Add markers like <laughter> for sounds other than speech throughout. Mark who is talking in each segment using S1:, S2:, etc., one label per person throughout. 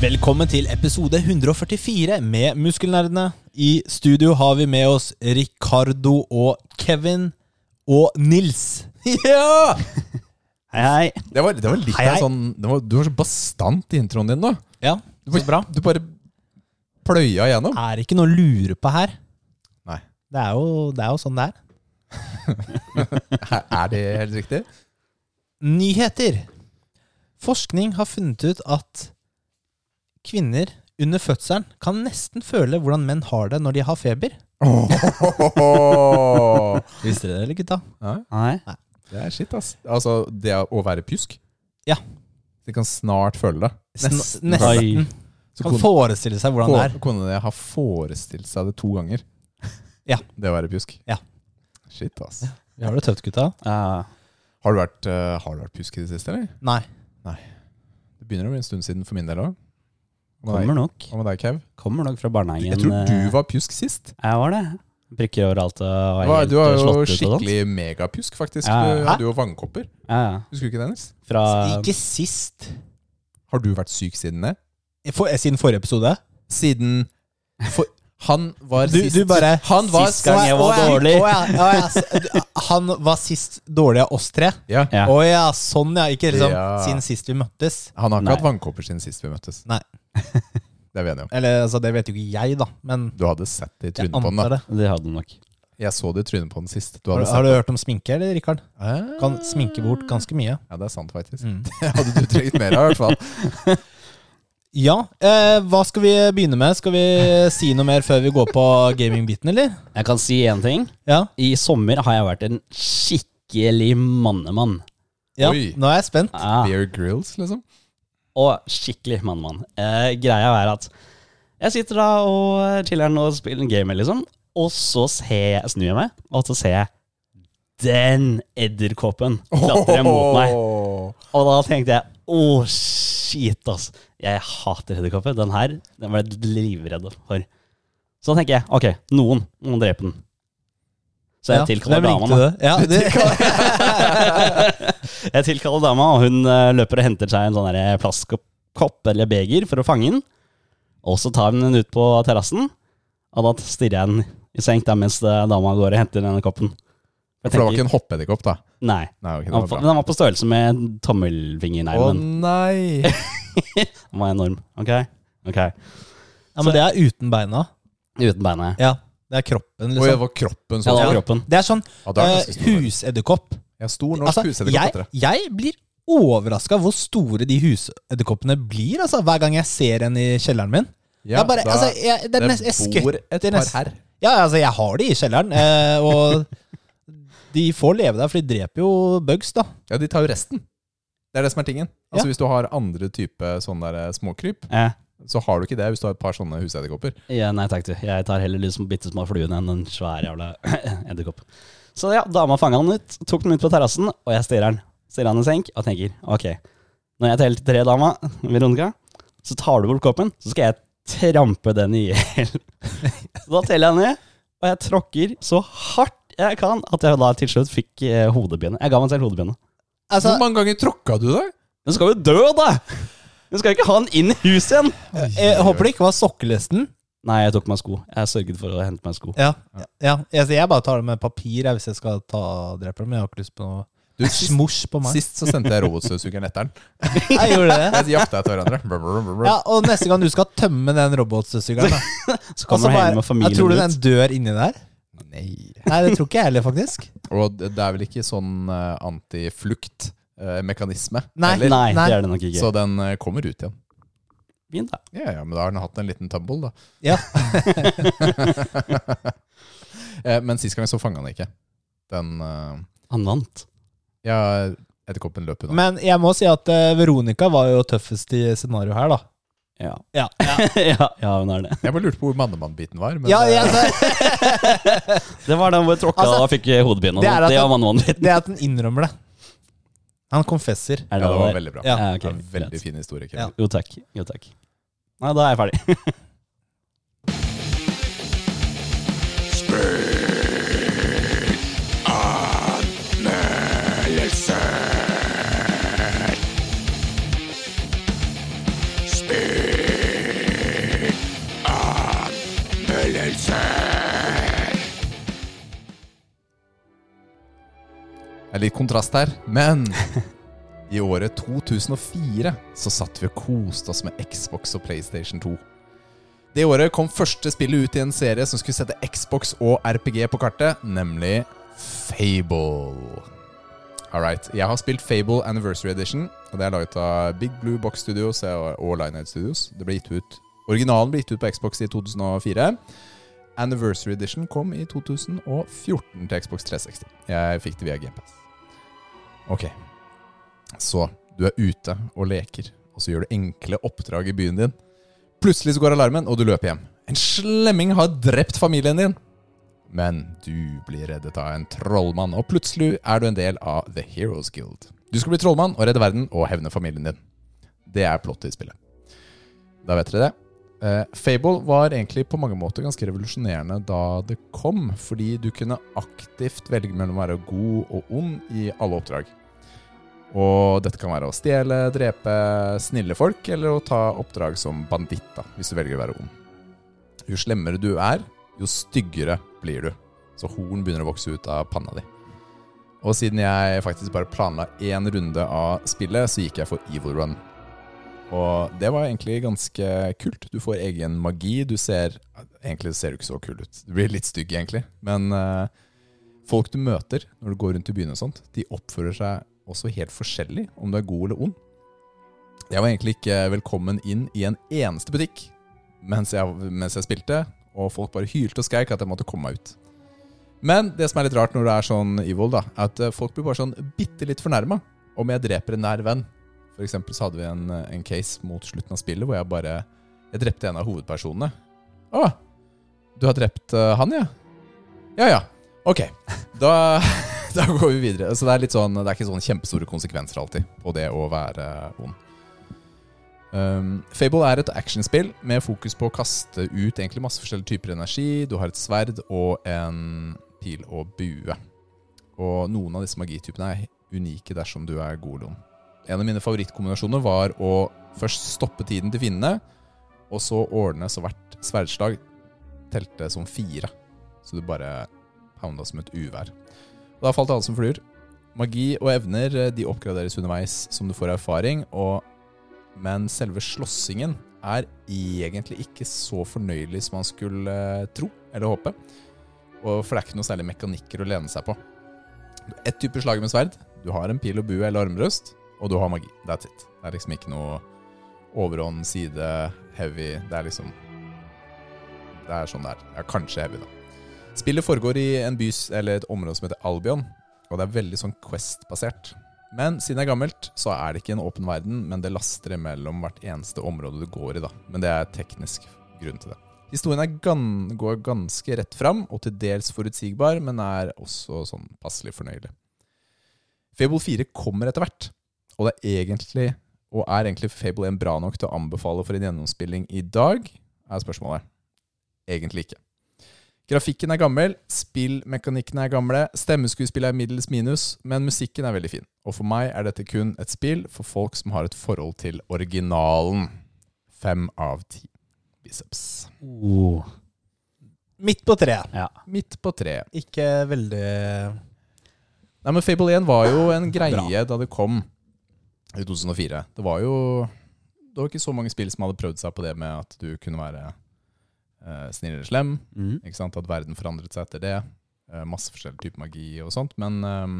S1: Velkommen til episode 144 med Muskelnerdene. I studio har vi med oss Ricardo og Kevin og Nils. <laughs> Ja!
S2: Hei, hei.
S3: Det var, det var litt
S1: Hei, hei.
S3: av sånn det var, Du var så bastant i introen din, da.
S1: Ja,
S3: Du bare, Du bare pløya gjennom.
S1: Er ikke noe å lure på her.
S3: Nei.
S1: Det er jo, det er jo sånn det er.
S3: Er er det helt
S1: <laughs>
S3: riktig?
S1: Nyheter. Forskning har funnet ut at kvinner under fødselen kan nesten føle hvordan menn har det når de har feber.
S3: Åh.
S1: Visste dere det, eller gutta?
S3: Ja,
S2: Hei.
S3: det er shit, ass. Altså, det å være pjusk
S1: Ja.
S3: De kan snart føle det.
S1: Sn-
S3: Nesten.
S1: Nesten.
S2: Oi.
S3: Så
S1: Kan
S3: kon-
S1: forestille seg hvordan det er.
S3: ko- Kona di har forestilt seg det to ganger.
S1: Ja.
S3: <laughs> Det å være pjusk.
S1: Ja.
S3: Shit, ass.
S1: Vi har det tøft, gutta.
S2: Ja.
S3: Har du vært, eh, har du vært pjusk i det siste, eller?
S1: Nei.
S3: Det begynner å bli en stund siden for min del òg.
S2: kommer nok.
S3: Hva med deg, Kev?
S2: Kommer nok fra barnehagen.
S3: Jeg tror du
S2: eh,
S3: var pjusk sist.
S2: Jeg var det. Prikker overalt eh, og var
S3: Du var, du var
S2: helt
S3: jo
S2: slått ut og sånt.
S3: skikkelig megapjusk, faktisk.
S2: Ja, ja.
S3: Du hadde jo vannkopper.
S2: Ja, ja.
S3: Husker du ikke det, Nils?
S2: Fra
S1: Ikke sist.
S3: Har du vært syk siden det?
S1: For, eh, siden forrige episode?
S3: Siden for, Han var
S1: Du-
S3: sist
S1: du bare,
S3: Han var
S2: sist gang jeg var
S1: Å, ja,
S2: dårlig.
S1: å, ja, å, ja, s- du- Han var sist dårlig av oss tre?
S3: Ja.
S2: Ja.
S1: Å ja, sånn ja. Ikke liksom
S3: Ja.
S1: siden sist vi møttes.
S3: Han har ikke
S2: Nei.
S3: hatt vannkopper siden sist vi møttes.
S1: Nei.
S3: <laughs> Det er vi enige om.
S1: Eller altså, det vet jo ikke jeg, da. Men
S3: Du hadde sett det i
S1: jeg
S3: trynet på den.
S1: antar
S3: da
S1: det.
S2: Det hadde nok.
S3: Jeg så det i trynet på den sist. Du
S1: Har, du-
S3: hadde
S1: har
S3: sett
S1: du
S3: det.
S1: hørt om sminke, eller, Rikard?
S3: Ah.
S1: Kan sminke bort ganske mye.
S3: Ja, det er sant, faktisk.
S1: Mm.
S3: <laughs> Det hadde du trengt mer av, i hvert fall.
S1: Ja. Eh, hva skal vi begynne med?
S2: <laughs>
S1: Skal vi si noe mer før vi går på gamingbiten, eller?
S2: Jeg kan si én ting.
S1: Ja.
S2: I sommer har jeg vært en skikkelig mannemann.
S1: ja.
S3: Oi.
S1: Nå er jeg spent.
S2: Ja.
S3: Bear Grills, liksom.
S2: Og skikkelig mannemann. Eh, greia er at jeg sitter da og chiller'n og spiller en gamer, liksom. Og så ser jeg, snur jeg meg, og så ser jeg den edderkoppen klatre mot meg.
S3: Åh.
S2: Og da tenkte jeg Å, shit, ass. Jeg hater edderkopper. Den her den var jeg livredd for. Så da tenker jeg ok, noen må drepe den. Så jeg
S1: Ja,
S2: tilkaller
S1: hvem
S2: dama.
S1: ringte
S2: da.
S1: det? Ja,
S2: <laughs>
S1: det,
S2: Jeg tilkaller dama, og hun eh, løper og henter seg en sånn der plastkopp eller beger for å fange den. Og så tar hun den ut på terrassen, og da stirrer jeg den i senk der mens eh, dama går og henter denne koppen. Jeg
S3: For det var
S2: tenker,
S3: ikke en hoppedderkopp, da?
S2: Nei.
S3: Nei, ok, det
S2: Den
S3: var
S2: var, på,
S3: bra.
S2: den var på størrelse med
S3: Å
S2: tommelfingerneglen.
S3: nei!
S2: Den var enorm. Ok? Ok.
S1: ja, men det er uten beina.
S2: Uten beinet.
S1: Ja. Det er kroppen,
S3: Oi, det
S1: liksom.
S3: var kroppen
S2: Ja,
S3: som
S2: det
S3: ja,
S2: var kroppen.
S1: Det er sånn
S3: da er den
S1: eh,
S3: ganske stor.
S1: husedderkopp.
S3: Ja, stor norsk
S1: Altså,
S3: husedderkopp heter
S1: jeg,
S3: det.
S1: jeg blir overraska hvor store de husedderkoppene blir altså, hver gang jeg ser en i kjelleren min.
S3: Ja,
S1: jeg bare,
S3: da-
S1: altså, jeg, det er nest, jeg
S3: det bor
S1: skvetter
S3: et par
S1: nest-
S3: her.
S1: Ja, altså, jeg har de i kjelleren. Eh, og <laughs> de får leve der, for de dreper jo bugs, da.
S3: Ja, de tar jo resten. Det er det som er tingen. Altså
S1: Ja.
S3: Hvis du har andre type sånne der småkryp,
S2: Eh,
S3: så har du ikke det hvis du har et par sånne husedderkopper.
S2: ja, nei takk, du. Jeg tar heller liksom bitte små fluene enn en svær jævla <clears throat> edderkopp. Så ja, dama fanga den ut, tok den ut på terrassen, og jeg stirrer den. Stirrer den i senk og tenker ok, når jeg teller til tre, dama, <laughs> Veronica, så tar du bort koppen, så skal jeg trampe den i hjel. <laughs> Så da teller jeg ned, og jeg tråkker så hardt jeg kan at jeg da til slutt fikk eh, hodepine. Jeg ga meg selv hodepine.
S1: Altså,
S3: Hvor mange ganger tråkka du det?
S2: Den skal jo dø, da! Du skal ikke ha den inn i huset igjen!
S1: eh, jeg håper det ikke var sokkelesten.
S2: Nei, jeg tok meg sko. Jeg sørget for å hente meg sko.
S1: Ja, ja. Jeg, jeg bare tar det med papir jeg, hvis jeg skal ta drepe dem. Jeg har ikke lyst på noe <laughs>
S3: Du, sist,
S1: smosj på meg.
S3: sist så sendte jeg robotstøvsugeren
S1: <laughs>
S3: etter den.
S1: Jeg gjorde det.
S3: Jeg jakta etter hverandre. Brr, brr, brr, brr.
S1: Ja, Og neste gang du skal tømme den robotstøvsugeren <laughs> da. Og
S2: Så
S1: så
S2: kommer du
S1: bare-
S2: hele med familien
S1: jeg Tror du
S2: ut.
S1: den dør inni der?
S3: Nei.
S1: Nei, det tror ikke jeg heller, <laughs> faktisk.
S3: Og det det er vel ikke sånn eh, antifluktmekanisme
S1: Nei.
S3: heller.
S2: Nei,
S1: Nei.
S2: det er det nok ikke.
S3: Så den eh, kommer ut igjen.
S2: Fint, da.
S3: Ja, ja, men da har den hatt en liten tumble, da.
S1: Ja.
S3: <laughs> Eh, Men sist gang så fanga den ikke. Den eh,
S2: Han vant.
S3: Ja, edderkoppen løp unna.
S1: <laughs> Men jeg må si at eh, Veronica var jo tøffest i scenarioet her, da.
S2: Ja.
S1: Ja, ja.
S2: <laughs> ja, ja, hun er det.
S3: Jeg bare lurte på hvor mannemann-biten var. Men
S1: ja,
S3: eh,
S1: jeg, altså,
S2: Det var da hvor jeg tråkka
S1: Altså,
S2: og fikk hodepine. og
S1: det er
S2: sånt.
S1: at
S2: Det
S1: han-
S2: var vannvannet.
S1: <laughs> det er at han innrømmer det. Han konfesser.
S2: Er
S3: ja, det var
S2: der?
S3: veldig bra.
S1: Ja.
S2: Ja,
S3: Det
S2: ok.
S3: er en veldig
S2: greit.
S3: fin historie.
S1: Ja.
S3: Kevin.
S2: Jo takk. Jo takk. Nei, da er jeg ferdig.
S3: Det er litt kontrast her, men i året 2004 så satt vi og koste oss med Xbox og PlayStation 2. Det året kom første spillet ut i en serie som skulle sette Xbox og RPG på kartet, nemlig Fable. All right. Jeg har spilt Fable Anniversary Edition, og det er laget av Big Blue Box Studios og Linehead Studios. Det ble gitt ut, originalen ble gitt ut på Xbox i 2004. Anniversary Edition kom i 2014 til Xbox 360. Jeg fikk det via GamePass. Ok. Så du er ute og leker, og så gjør du enkle oppdrag i byen din. Plutselig så går alarmen, og du løper hjem. En slemming har drept familien din. Men du blir reddet av en trollmann, og plutselig er du en del av The Heroes Guild. Du skal bli trollmann og redde verden og hevne familien din. Det er plottet i spillet. Da vet dere det. Eh, Fable var egentlig på mange måter ganske revolusjonerende da det kom, fordi du kunne aktivt velge mellom å være god og ond i alle oppdrag. Og dette kan være å stjele, drepe snille folk, eller å ta oppdrag som banditt, da, hvis du velger å være ond. Jo slemmere du er, jo styggere blir du. Så horn begynner å vokse ut av panna di. Og siden jeg faktisk bare planla én runde av spillet, så gikk jeg for Evil Run. Og det var egentlig ganske kult. Du får egen magi. Du ser Egentlig ser du ikke så kul ut. Du blir litt stygg, egentlig. Men eh, folk du møter når du går rundt i byen og sånt, de oppfører seg også helt forskjellig om du er god eller ond. Jeg var egentlig ikke velkommen inn i en eneste butikk mens jeg, mens jeg spilte, og folk bare hylte og skreik at jeg måtte komme meg ut. Men det som er litt rart når du er sånn evil, da, er at eh, folk blir bare sånn bitte litt fornærma om jeg dreper en nær venn. For eksempel så hadde vi en, eh, en case mot slutten av spillet hvor jeg bare Jeg drepte en av hovedpersonene. Å, du har drept eh, han, ja? Ja ja. Ok. <laughs> Da, da går vi videre. Så det er litt sånn Det er ikke sånn kjempestore konsekvenser alltid på det å være ond. Um, Fable er et actionspill med fokus på å kaste ut egentlig masse forskjellige typer energi. Du har et sverd og en pil og bue. Og noen av disse magitypene er unike dersom du er god eller ond. En av mine favorittkombinasjoner var å først stoppe tiden til fiendene, og så ordne så hvert sverdslag telte som fire. Så du bare pounda som et uvær. Da falt alle som fluer. Magi og evner eh, de oppgraderes underveis som du får erfaring, og, men selve slåssingen er egentlig ikke så fornøyelig som man skulle eh, tro eller håpe. Og for det er ikke noe særlig mekanikker å lene seg på. Ett type slag med sverd. Du har en pil og bue eller armbrøst og du har magi. That's it. Det er liksom ikke noe overhånd, side, heavy. Det er liksom Det er sånn det er. Ja, kanskje heavy, da. Spillet foregår i en by, eller et område som heter Albion, og det er veldig sånn Quest-basert. Men siden det er gammelt, så er det ikke en åpen verden, men det laster imellom hvert eneste område du går i, da. Men det er teknisk grunn til det. Historien er gan går ganske rett fram, og til dels forutsigbar, men er også sånn passelig fornøyelig. Fable 4 kommer etter hvert, og det er egentlig Og er egentlig Fable 1 bra nok til å anbefale for en gjennomspilling i dag? Er spørsmålet. Egentlig ikke. Grafikken er gammel, spillmekanikkene er gamle, stemmeskuespillet er middels minus, men musikken er veldig fin. Og for meg er dette kun et spill for folk som har et forhold til originalen. Fem av ti biceps.
S2: <laughs> Oh,
S1: Midt på treet.
S2: ja.
S3: Midt på treet.
S1: Ikke veldig
S3: Nei, men Fable 1 var jo en greie da det kom i 2004. Det var jo Det var ikke så mange spill som hadde prøvd seg på det med at du kunne være eh, snill eller slem.
S2: Mm.
S3: Ikke sant? At verden forandret seg etter det. Eh, masse forskjellig type magi og sånt. Men ehm,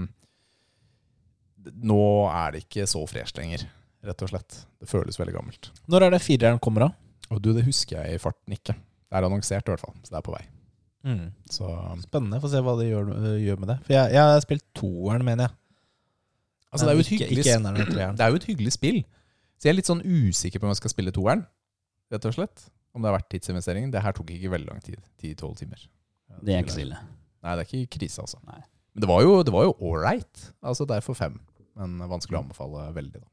S3: d- nå er det ikke så fresh lenger, rett og slett. Det føles veldig gammelt.
S1: Når er det fireren kommer, da?
S3: Og du, det husker jeg i farten ikke. Det er annonsert i hvert fall, så det er på vei.
S1: Mm.
S3: Så
S1: Spennende. Få se hva de gjør, eh, gjør med det. For jeg, jeg har spilt toeren, mener jeg.
S3: Altså, det er jo
S1: Men
S3: et hyggelig <clears throat>
S1: ikke, ikke eneren og treeren.
S3: Det er jo et hyggelig spill. Så jeg er litt sånn usikker på om jeg skal spille toeren. rett og slett. Om det er verdt tidsinvesteringen. Det her tok ikke veldig lang tid. 10-12 timer.
S2: Det er ikke så ille.
S3: Nei, det er ikke krise, altså.
S2: Nei.
S3: Men det var jo, det var jo all right. Altså derfor fem. Men vanskelig å anbefale veldig, da.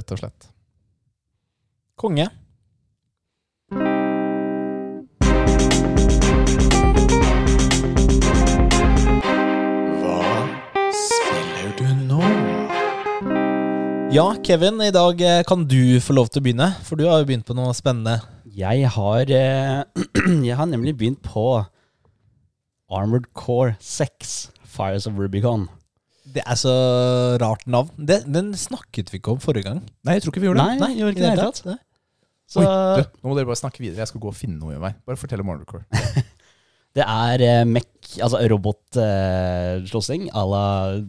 S3: Rett og slett.
S1: Konge.
S4: Hva spiller du nå?
S1: Ja, Kevin, i dag eh, kan du få lov til å begynne, for du har jo begynt på noe spennende.
S2: Jeg har, eh, <clears throat> jeg har nemlig begynt på Armored Core 6, Fires of Rubicon.
S1: Det er så rart navn. Det, den snakket vi ikke om forrige gang.
S3: Nei, jeg tror ikke vi
S2: Nei, jeg gjorde ikke det i det hele tatt.
S1: Nei.
S2: Så
S3: Du, nå må dere bare snakke videre. Jeg skal gå og finne noe i vei. Bare fortell om Arnold
S2: det er eh, mech, altså robotslåssing eh, à la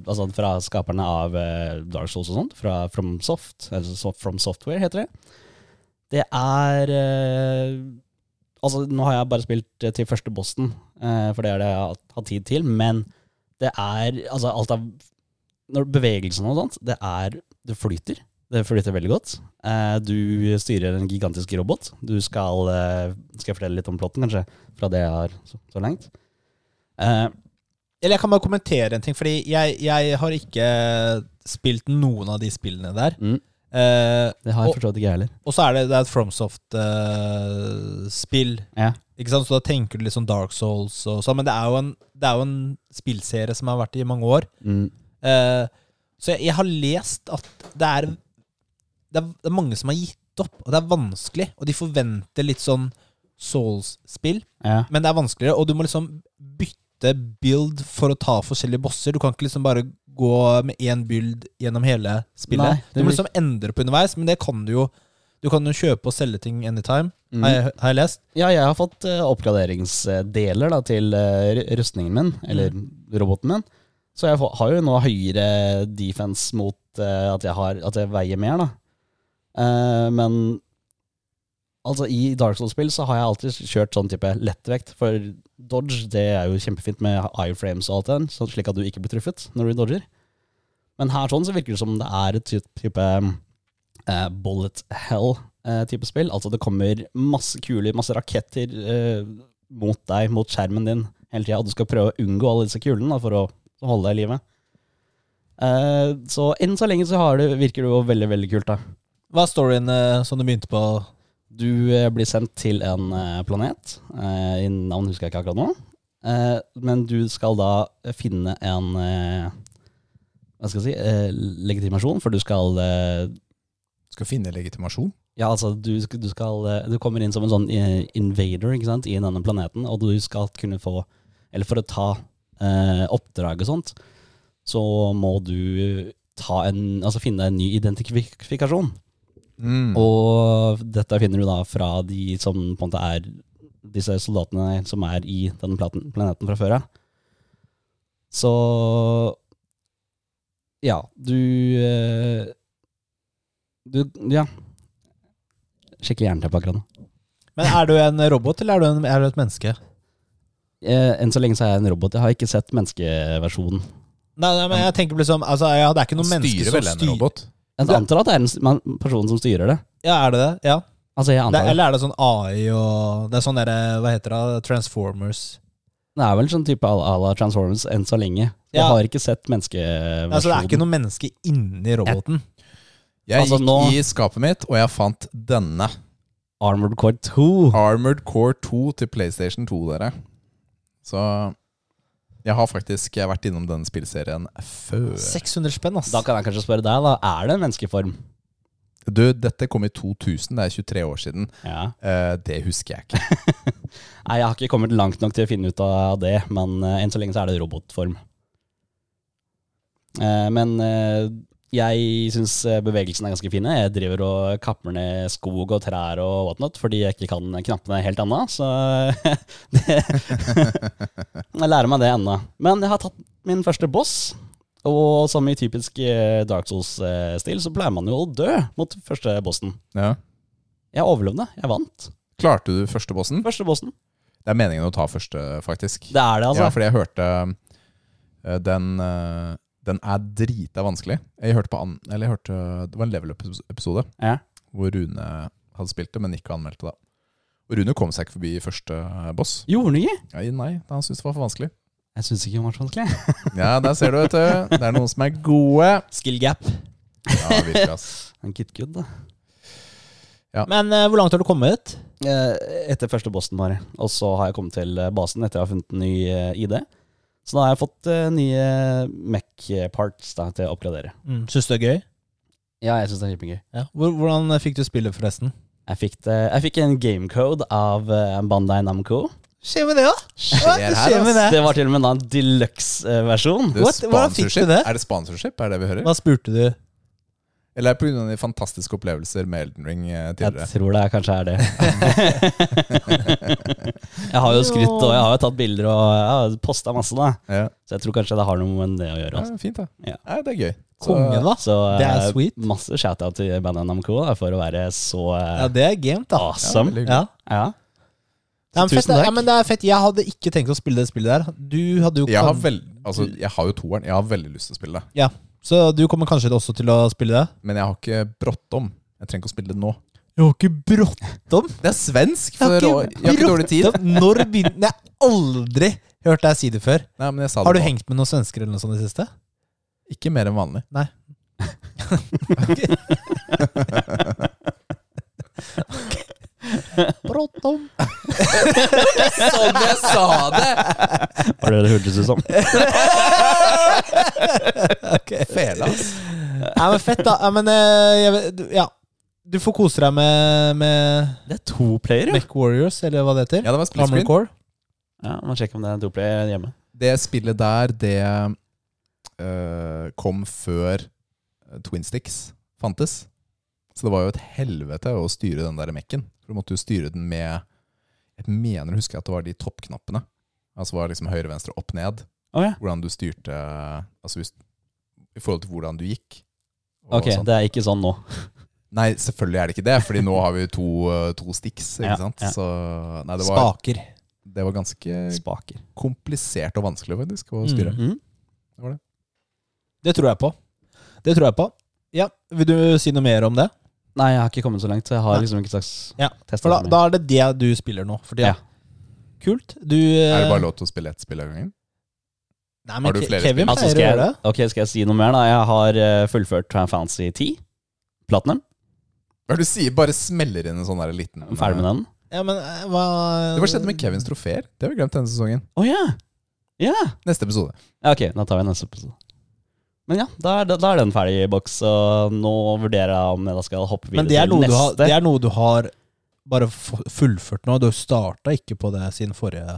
S2: altså fra skaperne av eh, Dark Souls og sånt, fra From Soft, eller så- From Software heter det. Det er eh, Altså, nå har jeg bare spilt eh, til første bossen, eh, for det er det jeg har hatt tid til, men det er Altså, alt av når Bevegelsene og sånt, det er Det flyter. Det flyter veldig godt. Eh, Du styrer en gigantisk robot. Du skal eh, Skal jeg fortelle litt om plotten, kanskje? Fra det jeg har så, så langt. Eh,
S1: Eller jeg kan bare kommentere en ting, fordi jeg, jeg har ikke spilt noen av de spillene der.
S2: Mm.
S1: Eh,
S2: det har jeg
S1: Og-
S2: forstått ikke, jeg heller.
S1: og så er det, det er et FromSoft-spill.
S2: Ja.
S1: Ikke sant, Så da tenker du litt sånn Dark Souls og sånn, men det er jo en, det er jo en spillserie som har vært i mange år.
S2: Mm.
S1: Eh, så jeg, jeg har lest at det er, det er Det er mange som har gitt opp, og det er vanskelig. Og de forventer litt sånn Souls-spill,
S2: Ja.
S1: men det er vanskeligere. Og du må liksom bytte build for å ta forskjellige bosser. Du kan ikke liksom bare gå med én build gjennom hele
S2: Nei,
S1: spillet.
S2: det
S1: du må
S2: blir-
S1: liksom endre på underveis, men det kan du jo. Du kan jo kjøpe og selge ting anytime,
S2: Mm.
S1: har, jeg, har jeg lest.
S2: ja, jeg har fått eh, oppgraderingsdeler da, til eh, ru- rustningen min, eller roboten min. Så jeg får, har jo nå høyere defense mot eh, at, jeg har, at jeg veier mer, da. Eh, men altså, i Dark Souls-spill så har jeg alltid kjørt sånn type lettvekt, for dodge det er jo kjempefint med iframes og alt det, sånn slik at du ikke blir truffet når du dodger. Men her sånn så virker det som det er et typ- type eh, bullet hell-type spill. Altså det kommer masse kuler, masse raketter eh, mot deg, mot skjermen din hele tida, og du skal prøve å unngå alle disse kulene da, for å holde deg i live. Eh, så enn så lenge så har du, virker det jo veldig, veldig kult, da.
S1: Hva er storyen eh, som du begynte på?
S2: Du eh, blir sendt til en eh, planet, eh, i navn husker jeg ikke akkurat nå, eh, men du skal da finne en eh, hva skal jeg si, eh, legitimasjon, for du skal eh,
S3: Skal finne legitimasjon.
S2: Ja, altså, du, sk- du, skal, eh, du kommer inn som en sånn eh, invader ikke sant, i denne planeten, og du skal kunne få Eller for å ta eh, oppdrag og sånt, så må du ta en, altså finne en ny identifikasjon.
S1: Mm.
S3: Og
S2: Og dette finner du da fra de som på en måte er disse soldatene som er i denne platen, planeten fra før av. Så Ja, du eh, Du, ja. Skikkelig jernteppe akkurat nå.
S1: Men er du en robot, eller er du, en, er du et menneske?
S2: Eh, Enn så lenge så er jeg en robot. Jeg har ikke sett menneskeversjonen.
S1: Nei, nei, men jeg tenker liksom altså, ja, Det er ikke noe menneske
S3: styrer
S1: som
S3: vel en
S1: styrer
S3: robot.
S2: Jeg antar at det er en s- man- person som styrer det.
S1: Ja, er det det? Ja.
S2: Altså, jeg
S1: Det,
S2: antar det.
S1: eller er det sånn AI og Det er sånn derre Hva heter det? Transformers.
S2: Det er vel sånn type à la- à la Transformers enn så lenge. Jeg
S1: Ja.
S2: har ikke sett
S1: Nei, så Altså, det er
S2: menneskeversjonen.
S1: ikke noe menneske inni roboten.
S3: Jeg
S2: Altså,
S3: gikk
S2: nå-
S3: i skapet mitt, og jeg fant denne.
S2: Armored Core 2.
S3: Armored Core 2 til PlayStation 2, dere. Så jeg har faktisk jeg har vært innom denne spillserien før.
S1: 600 spenn, ass.
S2: Da kan jeg kanskje spørre deg, da. Er det en menneskeform?
S3: Du, dette kom i 2000, det er 23 år siden.
S2: Ja.
S3: Eh, det husker jeg ikke. <laughs>
S2: Nei, jeg har ikke kommet langt nok til å finne ut av det, men eh, enn så lenge så er det robotform. Eh, men eh, jeg syns eh, bevegelsen er ganske fine. Jeg driver og kapper ned skog og trær og whatnot, fordi jeg ikke kan knappene helt ennå, så <laughs> det, Jeg lærer meg det ennå. Men jeg har tatt min første boss, og som i typisk eh, Dark Souls-stil, så pleier man jo å dø mot første bossen.
S3: Ja.
S2: Jeg overlevde, jeg vant.
S3: Klarte du første bossen?
S2: Første bossen.
S3: Det er meningen å ta første, faktisk.
S2: Det er det, altså.
S3: Ja, fordi jeg hørte eh, den eh, Den er drita vanskelig. Jeg hørte på an, Eller jeg hørte Det var en level up-episode
S2: Ja.
S3: hvor Rune hadde spilt det, men ikke anmeldte det. Og Rune kom seg ikke forbi første eh, boss.
S2: Gjorde han ikke?
S3: Nei, nei han syntes det var for vanskelig.
S2: Jeg syns ikke han var så vanskelig.
S3: Ja, der ser du, vet du. Det er noen som er gode.
S1: Skill gap.
S3: Ja, virkelig, ass.
S2: Han Kit Good, da.
S1: Men eh, hvor langt har du kommet?
S2: Eh, Etter første bossen, bare. Og så har jeg kommet til eh, basen etter jeg har funnet en ny eh, ID. Så da har jeg fått eh, nye Mech-parts da, til å oppgradere.
S1: Mm, Syns du det er gøy?
S2: Ja, jeg syns det er kjempegøy.
S1: Ja. Hvor, hvordan eh, fikk du spillet, forresten?
S2: Jeg fikk, det, jeg fikk en gamecode av eh, Bandai Namco.
S1: Skjer med det, da?
S3: Skjer
S1: det
S3: her,
S1: skjer
S3: ass.
S1: med det.
S2: Det var til og med da en eh, deluxe-versjon.
S3: Du,
S1: What? Hvordan fikk du
S3: sponsorship?
S1: det?
S3: Er det sponsorship? Er det det vi hører?
S1: Hva spurte du?
S3: Eller er det pga. de fantastiske opplevelser med Elden Ring eh,
S2: Jeg
S3: tidligere?
S2: tror det er, kanskje er det. <laughs> jeg har jo skrytt, og jeg har jo tatt bilder og jeg har posta masse, da.
S3: Ja.
S2: Så jeg tror kanskje det har noe med det å gjøre.
S3: ja,
S2: Altså.
S3: fint, da.
S2: Ja.
S3: Ja. det er gøy. Så-
S1: Kongen, da.
S2: Så
S1: Ah, Det er
S2: eh,
S1: sweet.
S2: masse shout-out til bandet NMK da, for å være så eh,
S1: Ja, det er gamet, da.
S3: Ja,
S2: awesome.
S3: veldig gøy.
S1: Ja.
S2: Ja.
S1: Ja, men fett,
S2: Så tusen
S1: det-
S2: takk.
S1: ja, men det er fett. Jeg hadde ikke tenkt å spille det spillet der. Du hadde jo
S3: Jeg har,
S1: kan-
S3: vel, altså, jeg har jo toeren. Jeg har veldig lyst til å spille det.
S1: ja. Så du kommer kanskje også til å spille det?
S3: Men jeg har ikke bråttom. Jeg trenger ikke å spille det nå.
S1: Jeg har ikke bråttom.
S3: Det er svensk!
S1: Jeg
S3: For
S1: har
S3: jeg har
S1: ikke,
S3: ikke, jeg har ikke dårlig tid.
S1: bråttom. Når begynte Jeg har aldri hørt deg si det før.
S3: Nei, men jeg sa det
S1: Har du
S3: nå.
S1: hengt med noen svensker eller noe sånt i det siste?
S3: Ikke mer
S1: <laughs>
S3: enn vanlig.
S1: Bråttom.
S3: Sånn jeg sa det!
S2: Var det det hørtes ut som?
S3: Fela, ass.
S1: Ja, men fett, da. Ja, men eh, jeg, vet- du- ja. Du får kose deg med, med
S2: <laughs> Det er to player, jo.
S1: Mech Warriors, eller hva det heter.
S3: Ja, det var split
S1: Armored
S3: screen.
S1: Core.
S2: Ja, man sjekker om det er to player hjemme.
S3: Det spillet der, det eh, kom før eh, Twin Sticks fantes. Så det var jo et helvete å styre den der mekken. For du måtte jo styre den med Jeg mener å huske at det var de toppknappene. Altså var liksom høyre, venstre, opp, ned.
S2: Å, ja.
S3: Hvordan du styrte Altså hvis, i forhold til hvordan du gikk. og
S2: Ok,
S3: sånn.
S2: det er ikke sånn nå.
S3: Nei, selvfølgelig er det ikke det, Fordi nå har vi jo to, eh, to sticks. Ikke
S2: Ja,
S3: sant?
S2: ja.
S3: Så nei, det var,
S1: Spaker.
S3: det var ganske
S2: Spaker.
S3: komplisert og vanskelig faktisk å styre.
S2: Mm.
S1: Det tror jeg på. Det tror jeg på. Ja, Vil du si noe mer om det?
S2: Nei, jeg har ikke kommet så langt, så jeg har
S1: Nei.
S2: liksom ikke slags
S1: Ja,
S2: testet
S1: For da,
S2: så mye.
S1: da er det det du spiller nå. For tida.
S2: Ja.
S1: Kult. Du eh,
S3: Er det
S2: Eh.
S3: bare lov til å spille ett spill av gangen?
S1: Nei, men
S3: Har du
S1: Ke-
S3: flere
S1: Kevin
S3: spill?
S2: Altså,
S1: pleier
S2: skal,
S1: å gjøre
S2: jeg,
S1: det.
S2: ok, skal jeg si noe mer, da? Jeg har eh, fullført Time Fantasy 10. Platinum.
S3: Hva er det du sier? Bare smeller inn en sånn der liten
S2: Ferdig med den.
S1: Ja, men eh, hva
S3: Det var skjedd med Kevins trofeer. Det har vi glemt denne sesongen.
S2: Å ja! Ja!
S3: Neste episode.
S2: Ja, Ok, da tar vi neste episode. Men ja, da er, da er den ferdig i boks, og nå vurderer jeg om jeg da skal hoppe videre
S1: Men det er,
S2: til
S1: noe du
S2: neste.
S1: har, det er noe du har bare f- fullført nå. Du starta ikke på det siden forrige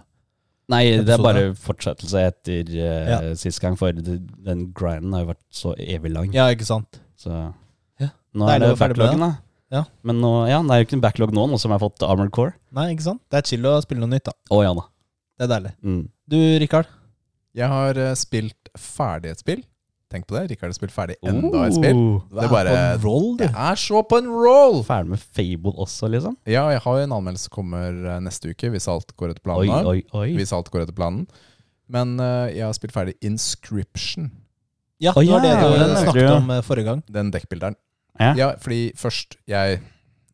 S2: Nei, det er
S1: episode.
S2: bare fortsettelse etter uh, sist gang, for d- den grinden har jo vært så evig
S3: Mm.
S2: lang.
S1: Ja, ikke sant?
S2: Så
S1: Ja.
S2: nå
S1: Deilig
S2: er
S1: å
S2: det
S1: være ferdig med
S2: backloggen, da.
S1: Ja.
S2: Men nå, ja, det er jo ikke en backlog nå, nå som jeg har fått Armored Core.
S1: Nei, ikke sant? Det er chill å spille noe nytt, da.
S2: Å ja da.
S1: Det er deilig.
S2: Mm.
S1: Du, Rikard.
S3: Jeg har eh, spilt ferdig et spill. Tenk på det. Rikard har spilt ferdig enda et
S2: Oh.
S3: spill.
S1: Du
S3: Det er bare
S1: på en roll, du.
S3: Jeg er så på en roll!
S2: Uh, Ferdig med Fable også, liksom.
S3: Ja, jeg har jo en anmeldelse som kommer eh, neste uke, hvis alt går etter
S2: Oi,
S3: planen.
S2: oi, oi.
S3: Hvis alt går etter planen. Men eh, jeg har spilt ferdig Inscription,
S1: Ja,
S2: Å,
S1: det var det
S2: ja,
S1: du
S3: det
S1: snakket
S2: hørte jeg.
S1: om eh, forrige gang.
S3: den dekkbilderen.
S2: Ja.
S3: Ja, fordi først jeg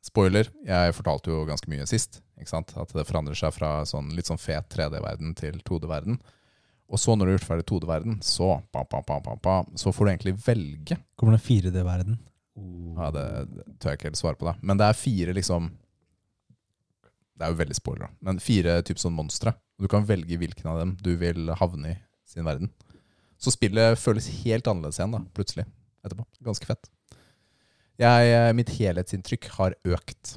S3: Spoiler, jeg fortalte jo ganske mye sist. Ikke sant? At det forandrer seg fra sånn litt sånn fet 3D-verden til 2D-verden. Og så når du har gjort ferdig 2D-verden, så, bam, bam, bam, bam, bam, så får du egentlig velge.
S1: Kommer det 4D-verden?
S3: Ja, det, det tør jeg ikke helt svare på, da. Men det er fire liksom Det er jo veldig spoiler, da. Men fire typer sånn monstre. Du kan velge hvilken av dem du vil havne i sin verden. Så spillet føles helt annerledes igjen, da, plutselig. Etterpå. Ganske fett. Jeg, eh, mitt helhetsinntrykk har økt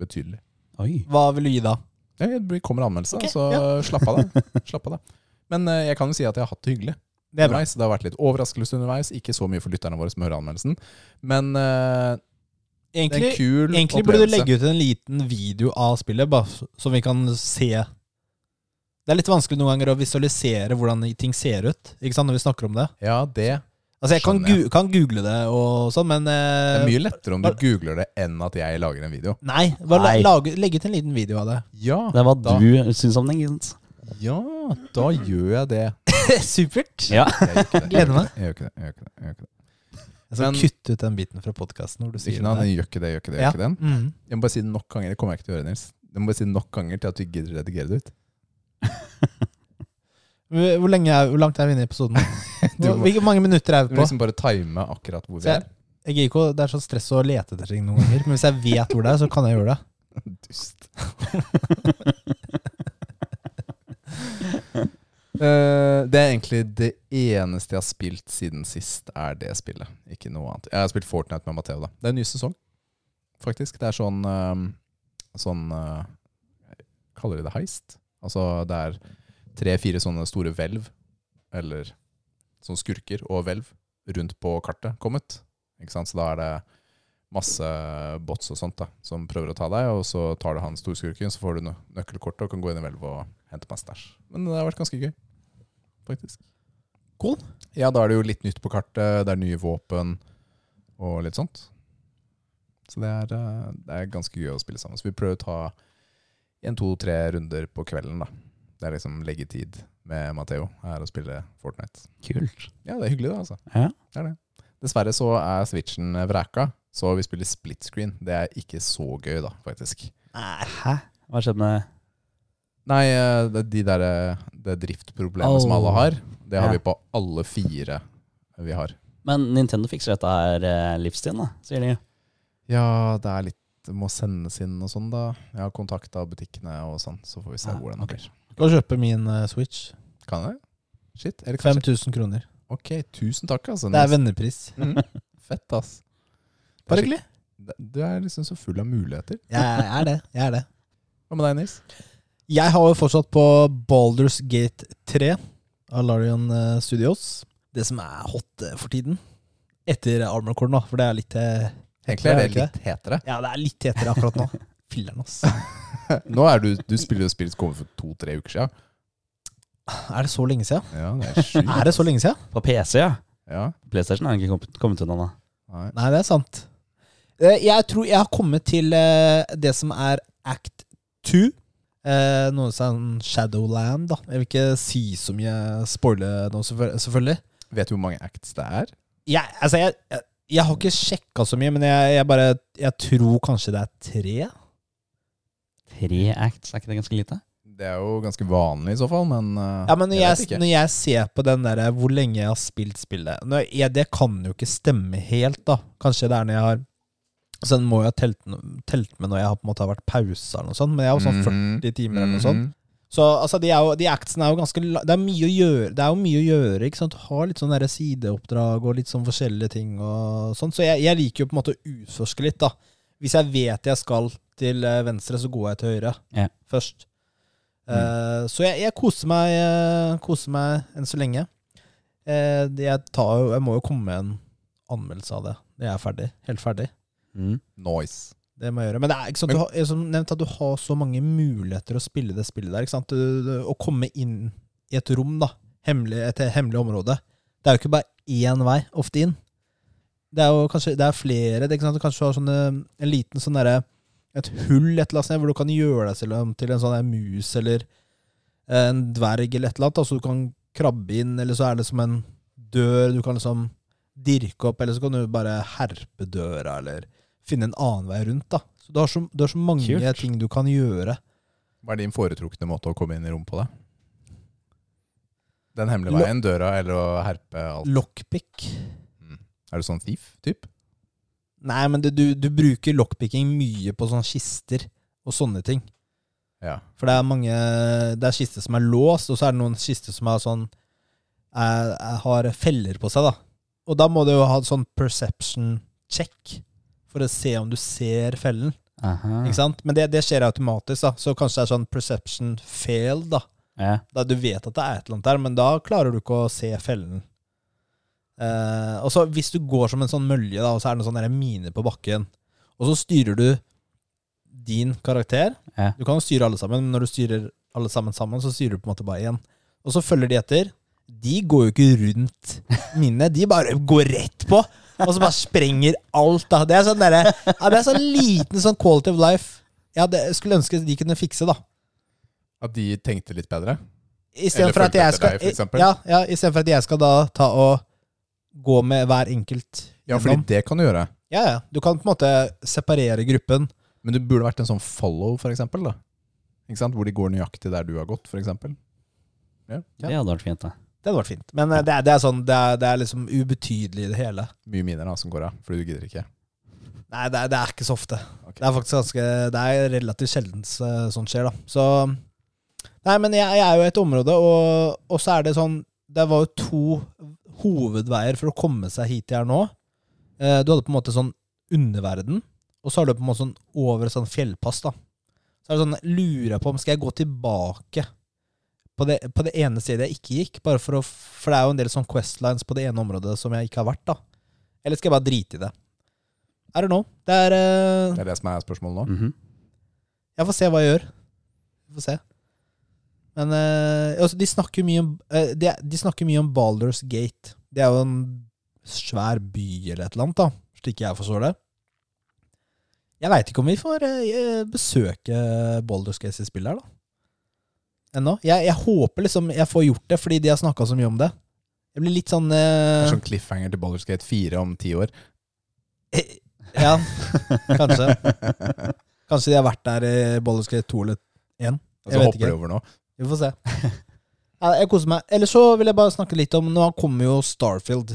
S3: betydelig.
S2: Oi.
S1: Hva vil du gi da?
S3: Ja, Det kommer anmeldelse,
S1: Ok,
S3: så <laughs> slapp av, da. slapp av, da. Men eh, jeg kan jo si at jeg har hatt det hyggelig
S1: Det er bra.
S3: underveis. Det har vært litt overraskelse underveis. Ikke så mye for lytterne våre som hører anmeldelsen. Men eh, det er
S1: Egentlig,
S3: en kul
S1: egentlig burde du legge ut en liten video av spillet, bare f- så vi kan se Det er litt vanskelig noen ganger å visualisere hvordan ting ser ut, ikke sant, når vi snakker om det.
S3: Ja, det
S1: Altså, jeg kan,
S3: Skjønner
S1: gu kan google det og sånn, men
S3: Det
S1: eh,
S3: er mye lettere om du
S1: bare-
S3: googler det enn at jeg lager en video.
S1: Nei, bare la-
S2: Nei.
S1: Lage, legge ut en liten video
S3: <laughs>
S1: av det.
S3: Ja,
S2: Det er hva
S3: Da-
S2: du syns om den, ikke sant?
S3: ja da gjør jeg det.
S1: Supert.
S2: Ja.
S3: Jeg gjør ikke det.
S1: Gleder meg.
S3: Jeg gjør ikke det. Jeg gjør ikke det. Jeg gjør ikke det.
S1: Jeg skal
S3: Men-
S1: kutte ut den biten fra podkasten hvor du sier
S3: Ikke noe,
S1: det.
S3: den gjør ikke det, gjør ikke det, gjør
S1: Ja.
S3: ikke den.
S1: Mm.
S3: Jeg må bare si det nok ganger. Det kommer jeg ikke til å gjøre, Nils. Jeg må bare si det nok ganger til at du gidder å redigere det ut.
S1: Hvor, hvor lenge er, hvor langt er vi inne i <laughs> episoden?
S3: Du
S1: Hvor
S3: må-
S1: Hvilke mange minutter er
S3: Du
S1: vi
S3: må
S1: på?
S3: liksom bare time akkurat hvor vi
S1: Se.
S3: er.
S1: Jeg gir ikke, å- Det er sånn stress å lete etter ting noen ganger. Men hvis jeg vet hvor det er, så kan jeg gjøre det.
S3: Dust. Eh, det er egentlig det eneste jeg har spilt siden sist, er det spillet. Ikke noe annet. Jeg har spilt Fortnite med Matheo, da. Det er en ny sesong, faktisk. Det er sånn eh, Sånn eh, Kaller de det heist? Altså, det er tre-fire sånne store hvelv, eller sånne skurker og hvelv, rundt på kartet kommet. Ikke sant? Så da er det masse bots og sånt da, som prøver å ta deg, og så tar du han storskurken, så får du nø- nøkkelkortet og kan gå inn i hvelvet og hente masse stæsj. Men det har vært ganske gøy, faktisk.
S1: Cool.
S3: Ja, da er det jo litt nytt på kartet, det er nye våpen og litt sånt. Så det er, eh, det er ganske gøy å spille sammen. Så vi prøver å ta en, to, tre runder på kvelden da. Det er liksom legge tid med Matteo her og spille Fortnite.
S2: Kult.
S3: Ja, det er hyggelig, det. altså.
S2: Ja.
S3: Det er det. Dessverre så er switchen vreka, så vi spiller split screen. Det er ikke så gøy, da, faktisk.
S2: Hæ? Hva skjedde med
S3: Nei, eh, det, de der, eh, det driftproblemet
S2: Au.
S3: som alle har, det har
S2: Ja.
S3: vi på alle fire vi har.
S2: Men Nintendo fikser dette her eh, livstiden, da, sier de.
S3: Ja, det er litt det må sendes inn og sånn, da. Jeg har kontakta butikkene og sånn, så får vi se
S2: Ah,
S3: hvordan
S2: ok.
S3: det blir.
S1: Gå og kjøpe min eh, Switch.
S3: Kan jeg? Shit. Eller kanskje
S1: 5000 kroner.
S3: Ok, tusen takk, altså.
S1: Det er vennepris.
S3: Mm, fett, ass. Det er
S1: Bare
S3: skik-
S1: hyggelig.
S3: Du er liksom så full av muligheter.
S1: Jeg er det. Jeg er det.
S3: Hva med deg, Nils?
S1: Jeg har jo fortsatt på Baldur's Gate 3 av Larion eh, Studios. Det som er hot eh, for tiden. Etter Armor Core, da, for det er litt eh,
S3: Egentlig er
S1: er
S3: det
S1: det ikke
S3: litt hetere.
S1: Ja, det er litt hetere akkurat <laughs> nå. Filler'n, ass.
S3: Nå er du, du spiller jo spill som kom for to-tre uker siden.
S1: Er det så lenge siden?
S3: Ja, det er sjukt.
S1: Er det så lenge siden?
S2: På PC, ja.
S3: Ja,
S2: PlayStation har ikke kommet, kommet unna, da.
S3: nei.
S1: Nei, det er sant. Eh, Jeg tror jeg har kommet til eh, det som er act two. Eh, Noe sånn Shadowland, da. Jeg vil ikke si så mye spoile nå, selvføl- selvfølgelig.
S3: Vet du hvor mange acts det er?
S1: Jeg, altså, jeg, jeg, jeg har ikke sjekka så mye, men jeg, jeg bare Jeg tror kanskje det er tre.
S2: Tre acts, er ikke det ganske lite?
S3: Det er jo ganske vanlig i så fall, men eh,
S1: Ja, men når
S3: vet
S1: jeg, når jeg ser på den derre hvor lenge jeg har spilt spillet når jeg, Det kan jo ikke stemme helt, da. Kanskje det er når jeg har Så den må jo ha telt, telt med når jeg har på en måte har vært pauser eller noe sånt, men jeg har jo sånn 40
S3: Mhm,
S1: 40 timer eller noe sånt.
S3: mhm.
S1: Så altså, de, er jo, de actsene er jo ganske la- Det er mye å gjøre, det er jo mye å gjøre ikke sant? Du har litt sånn derre sideoppdrag og litt sånn forskjellige ting og sånn. Så jeg, jeg liker jo på en måte å utforske litt, da. Hvis jeg vet jeg skal til eh, venstre, så går jeg til høyre
S2: Ja.
S1: først. Eh, så jeg, jeg koser meg eh, Koser meg enn så lenge. Eh, det jeg, tar, jo- jeg må jo komme med en anmeldelse av det når jeg er ferdig. Helt ferdig.
S3: Noise.
S1: Det må jeg gjøre. Men det er ikke sant, du har, jeg som nevnt at du har så mange muligheter å spille det spillet der. Ikke sant? Du, du, å komme inn i et rom, da, hemmelig, et hemmelig område Det er jo ikke bare én vei ofte inn. Det er jo kanskje det er flere. Det, ikke sant? Du kanskje har sånne, en liten sånn derre Et hull et eller annet sted hvor du kan gjøre deg selv om til en sånn der mus eller eh, en dverg eller et eller annet. da, Så du kan krabbe inn, eller så er det som en dør du kan liksom dirke opp, eller så kan du bare herpe døra, eller finne en annen vei rundt. da. Så Du har så, du har så mange
S2: Kult.
S1: ting du kan gjøre.
S3: Hva er din foretrukne måte å komme inn i rom på, da? Den hemmelige
S1: Lo-
S3: veien, døra eller å herpe alt?
S1: Lockpick.
S3: Er du sånn thief, typ?
S1: Nei, men det, du, du bruker lockpicking mye på sånne kister og sånne ting.
S3: Ja.
S1: For det er mange Det er kister som er låst, og så er det noen kister som er sånn er, er, har feller på seg, da. Og da må du jo ha et sånn perception check for å se om du ser fellen.
S2: Aha.
S1: Ikke sant? Men det, det skjer automatisk, da. Så kanskje det er sånn perception fail, da.
S2: Ja.
S1: da. Du vet at det er et eller annet der, men da klarer du ikke å se fellen. Eh, og så hvis du går som en sånn mølje, da, og så er det en sånn der mine på bakken, og så styrer du din karakter
S2: Ja.
S1: Du kan jo styre alle sammen, men når du styrer alle sammen sammen, så styrer du på en måte bare én. Og så følger de etter. De går jo ikke rundt minnet, de bare går rett på. Og så bare sprenger alt, da. Det er sånn derre ja, Det er sånn liten sånn quality of life jeg hadde, skulle ønske de kunne fikse, da.
S3: At de tenkte litt bedre? Eller
S1: Istedenfor at
S3: fulgte
S1: jeg
S3: etter
S1: skal
S3: deg, for eksempel.
S1: ja, ja, i stedet for at jeg skal da ta og gå med hver enkelt
S3: Ja, fordi
S1: Gjennom.
S3: det kan du gjøre.
S1: Ja, ja. Du kan på en måte separere gruppen.
S3: Men det burde vært en sånn follow, for eksempel. Da. Ikke sant? Hvor de går nøyaktig der du har gått, for eksempel. Ja.
S2: Det hadde vært fint, da.
S1: Det hadde vært fint. Men eh, det, er, det er sånn, det er, det er liksom ubetydelig i det hele.
S3: Mye mindre da, som går av, fordi du gidder ikke.
S1: Nei, det er, det er ikke så ofte.
S3: Ok.
S1: Det er faktisk ganske Det er relativt sjelden eh, sånt skjer, da. Så Nei, men jeg, jeg er jo i et område, og, og så er det sånn Det var jo to hovedveier for å komme seg hit jeg er nå. Eh, Du hadde på en måte sånn underverden, og så har du på en måte sånn over et sånn fjellpass, da. Så er det sånn Lurer jeg på om skal jeg gå tilbake på det, på det ene stedet jeg ikke gikk, bare for å For det er jo en del sånn Questlines på det ene området som jeg ikke har vært, da. Eller skal jeg bare drite i det? I don't know. Det er eh,
S3: Det er det som er spørsmålet nå.
S2: Mhm.
S1: jeg får se hva jeg gjør. Vi får se. Men eh, altså, de snakker jo mye om eh, de, de snakker mye om Baldur's Gate. Det er jo en svær by eller et eller annet, da, slik jeg forstår det. Jeg veit ikke om vi får eh, besøke Baldur's Gate sitt spill her, da. Ennå. Jeg, jeg håper liksom jeg får gjort det, fordi de har snakka så mye om det. Jeg blir litt sånn
S3: Det
S1: eh,
S3: er sånn cliffhanger til Baldur's Gate 4 om ti
S1: <laughs>
S3: år.
S1: eh, Ja, kanskje. Kanskje de har vært der i Baldur's Gate 2 eller 1.
S3: Og
S1: Jeg
S3: så
S1: vet
S3: hopper
S1: ikke.
S3: de over nå.
S1: Vi får se. Ja, jeg koser meg. Eller så vil jeg bare snakke litt om Nå kommer jo Starfield.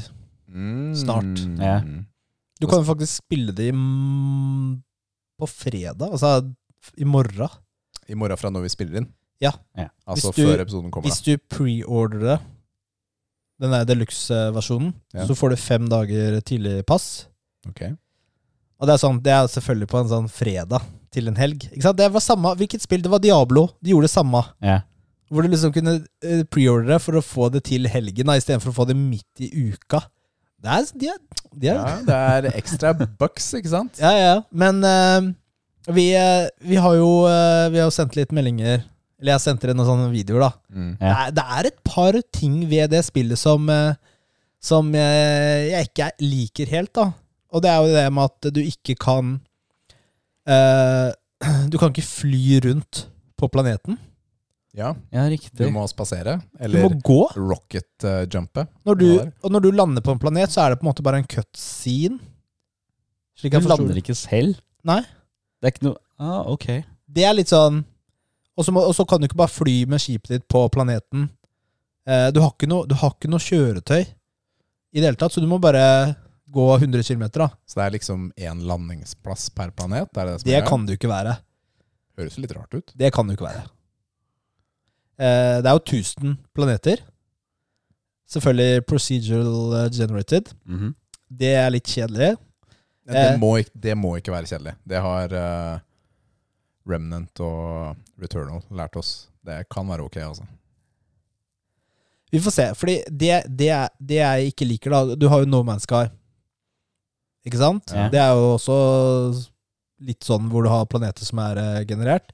S3: Mm.
S1: Snart.
S2: Ja.
S1: Du kan jo faktisk spille det i m- på fredag. Altså f- i morgen.
S3: I morgen fra når vi spiller inn.
S1: Ja.
S2: Ja.
S3: Altså
S1: Hvis du-
S3: før episoden kommer.
S1: Hvis
S3: Da.
S1: du preorderer det, den der deluxe-versjonen,
S3: Ja.
S1: så får du fem dager tidlig pass.
S3: Ok.
S1: Og det er sånn, det er selvfølgelig på en sånn fredag til en helg. Ikke sant? Det var samme, Hvilket spill? Det var Diablo. De gjorde det samme.
S2: Ja.
S1: Hvor du liksom kunne eh, preordre for å få det til helgen, da, istedenfor å få det midt i uka. Det er, de er, de er
S3: Ja, det er ekstra bucks, ikke sant?
S1: Ja, ja. Men eh, vi, eh, vi har jo eh, Vi har jo sendt litt meldinger. Eller jeg sendte dere noen sånne videoer, da.
S3: Mm.
S2: Ja.
S1: Det, er, det er et par ting ved det spillet som eh, Som eh, jeg ikke er- liker helt, da. Og det er jo det med at du ikke kan eh, <clears throat> Du kan ikke fly rundt på planeten.
S3: Ja,
S2: ja,
S3: du
S2: riktig.
S3: må spasere.
S1: Du må
S3: Eller eh,
S1: gå.
S3: rocket-jumpe.
S1: Når du,
S3: Ja.
S1: og når du lander på en planet, så er det på en måte bare en cutscene. Slik
S2: Du
S1: jeg forstår det.
S2: lander ikke selv?
S1: Nei.
S2: Det er ikke noe ah, Ok.
S1: Det er litt sånn Og så må- og så kan du ikke bare fly med skipet ditt på planeten. Eh, Du har ikke noe, du har ikke noe kjøretøy i det hele tatt, så du må bare gå 100 km. Da.
S3: Så det er liksom én landingsplass per planet? Er det det som er
S1: Det
S3: greia?
S1: kan du ikke være.
S3: Høres jo litt rart ut.
S1: Det kan du ikke være. Eh, Det er jo 1000 planeter. Selvfølgelig procedural eh, generated.
S2: Mhm.
S1: Det er litt kjedelig.
S3: Men Det
S1: Eh.
S3: må, ikke, det må ikke være kjedelig. Det har eh, Remnant og Returnal lært oss. Det kan være ok, altså.
S1: Vi får se. Fordi det, det, er- det jeg ikke liker, da Du har jo No Man's Sky. Ikke sant?
S2: Ja.
S1: Det er jo også litt sånn hvor du har planeter som er eh, generert.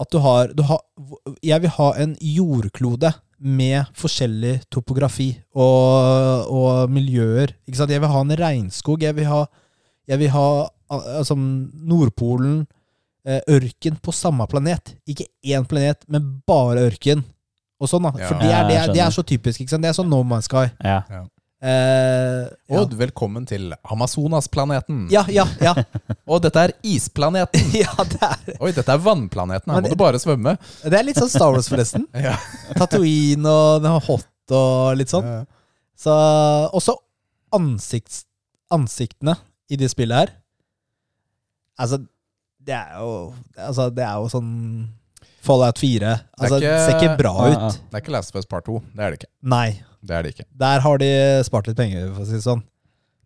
S1: At du har, du har Jeg vil ha en jordklode med forskjellig topografi og, og miljøer. Ikke sant? Jeg vil ha en regnskog. Jeg vil ha, jeg vil ha al- altså, Nordpolen, eh, ørken på samme planet. Ikke én planet, men bare ørken. Og sånn, da.
S3: Ja.
S1: For det er, det,
S2: Ja, jeg
S1: er, det er så typisk. Ikke sant? Det er sånn No Man's Sky.
S2: Ja.
S1: Eh,
S3: Og velkommen til Amazonas-planeten.
S1: ja, ja, ja,
S3: Og dette er
S1: <laughs>
S3: isplaneten.
S1: ja det, er,
S3: Oi, dette er vannplaneten. Her
S1: Men-
S3: må du bare svømme.
S1: det er litt sånn Star Wars, forresten.
S3: <laughs> Ja.
S1: Tatooine og den har hot og litt sånn.
S3: Eh,
S1: Så, også ansikts, ansiktene i det spillet her. Altså, det er jo, altså, det er jo sånn Fallout 4. Altså, det,
S3: ikke-
S1: ser ikke bra
S2: Ja,
S1: ut.
S2: ja.
S3: Det er ikke Last of Us Part 2. Det er det ikke.
S1: Nei.
S3: Det er det ikke.
S1: Der har de spart litt penger, for å si det sånn.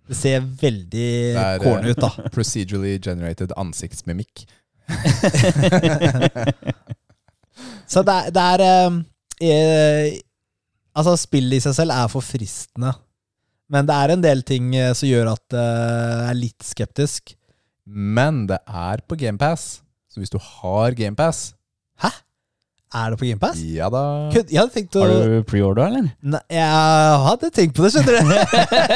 S1: Det ser veldig
S3: er, eh,
S1: corny ut, da.
S3: Procedurally generated ansiktsmimikk.
S1: Så det er, det er eh, eh, Altså, spillet i seg selv er forfristende. Men det er en del ting eh, som gjør at eh, jeg er litt skeptisk.
S3: Men det er på GamePass. Så hvis du har GamePass
S1: Er det på GamePass?
S3: Ja da.
S1: Kødd? Jeg hadde tenkt å
S2: Har du preorder, eller?
S1: Nei, jeg hadde tenkt på det, skjønner du.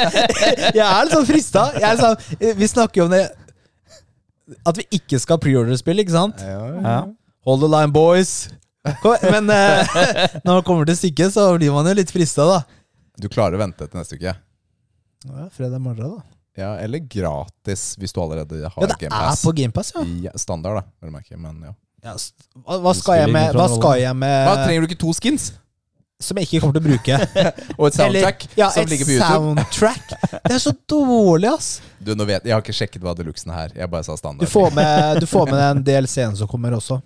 S1: <laughs> jeg er litt sånn frista. Jeg er sånn, vi snakker jo om det At vi ikke skal preorder-spill, ikke sant?
S2: Ja.
S1: Hold the line, boys. Kom, men eh, <laughs> når det kommer til stykket, så blir man jo litt frista, da.
S3: Du klarer å vente til neste uke.
S1: Ja, fredag morgen, da.
S3: Ja, eller gratis, hvis du allerede har
S1: Ja, det er
S3: GamePass.
S1: på GamePass, ja.
S3: I standard, da, vil du merke. Men ja.
S1: ja s- hva, hva skal jeg med, hva skal jeg
S3: Da
S1: med
S3: trenger du ikke to skins
S1: som jeg ikke kommer til å bruke?
S3: og et <laughs> soundtrack
S1: Eller- ja,
S3: som
S1: et
S3: ligger på YouTube.
S1: soundtrack. Det er så dårlig, ass.
S3: Du, nå vet, Jeg har ikke sjekket hva deluxen er. Jeg bare sa
S1: Du
S3: standard.
S1: får med, du får med en del scener som kommer også.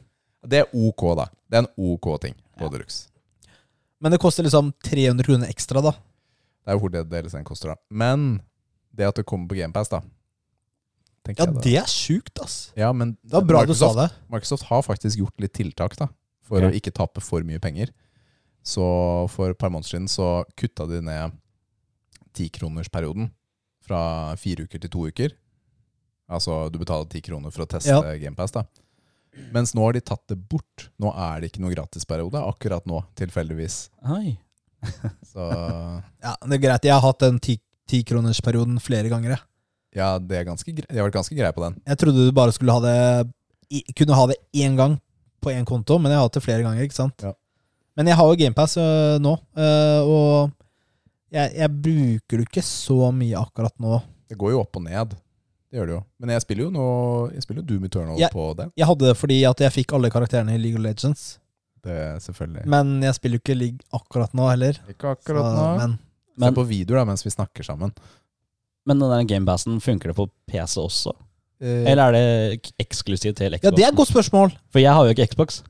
S3: Det er ok, da. Det er en ok ting på deluxe.
S1: Men det koster liksom 300 kroner ekstra, da.
S3: Det er jo hvor det DLC-en koster, da. Men det at det kommer på GamePass, da tenker
S1: Ja,
S3: jeg da.
S1: det er sjukt, ass.
S3: Ja, men
S1: Det var bra du sa det.
S3: Microsoft har faktisk gjort litt tiltak da for
S2: Ok.
S3: å ikke tape for mye penger. Så for et par måneder siden så kutta de ned tikronersperioden fra fire uker til to uker. Altså du betaler ti kroner for å teste
S1: Ja.
S3: GamePass, da. Mens nå har de tatt det bort. Nå er det ikke noe gratisperiode akkurat nå, tilfeldigvis.
S2: Oi.
S3: Så
S1: <laughs> Ja, det er greit. Jeg har hatt den ti- tikronersperioden flere ganger. jeg.
S3: ja, det er ganske gre- de har vært ganske greie på den.
S1: Jeg trodde du bare skulle ha det i- kunne ha det én gang på én konto, men jeg har hatt det flere ganger. ikke sant?
S3: Ja.
S1: Men jeg har jo GamePass øh, nå, øh, og jeg, jeg bruker det ikke så mye akkurat nå.
S3: Det går jo opp og ned. Det gjør det jo. Men jeg spiller jo nå Jeg spiller jo Doom Eternal
S1: Ja.
S3: på det.
S1: Jeg hadde det fordi at jeg fikk alle karakterene i League of Legends,
S3: Det er Selvfølgelig.
S1: men jeg spiller jo ikke League akkurat nå heller.
S3: Ikke
S1: Mm. Så,
S3: akkurat nå.
S1: men
S3: Se
S2: Men-
S3: på videoer da, mens vi snakker sammen.
S2: Men den der gamepassen, funker det på PC også?
S3: Eh,
S2: Eller er det k- eksklusivt til
S1: øh,
S2: Xbox?
S1: ja, det er et godt spørsmål.
S2: For jeg har jo ikke Xbox.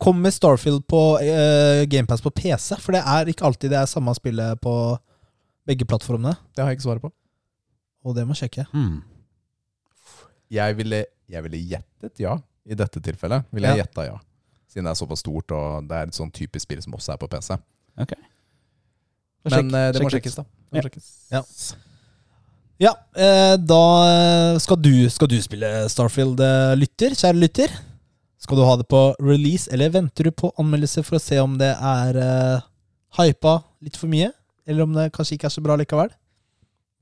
S1: Kommer Starfield på øh, GamePass på PC? For det er ikke alltid det er samme spillet på begge plattformene,
S3: det har jeg ikke svaret på.
S1: og det må jeg sjekke.
S2: Hmm.
S3: Jeg ville, jeg ville gjettet ja i dette tilfellet. Ville jeg
S1: Ja.
S3: gjetta ja. Siden det er såpass stort, og det er et sånn typisk spill som også er på PC.
S2: Ok.
S3: Men eh, det må
S2: sjekk
S3: sjekkes, da. Det må sjekkes.
S1: Ja. Ja, eh, da skal du, skal du spille Starfield, eh, lytter, kjære lytter. Skal du ha det på release, eller venter du på anmeldelse for å se om det er eh, hypa litt for mye? Eller om det kanskje ikke er så bra likevel?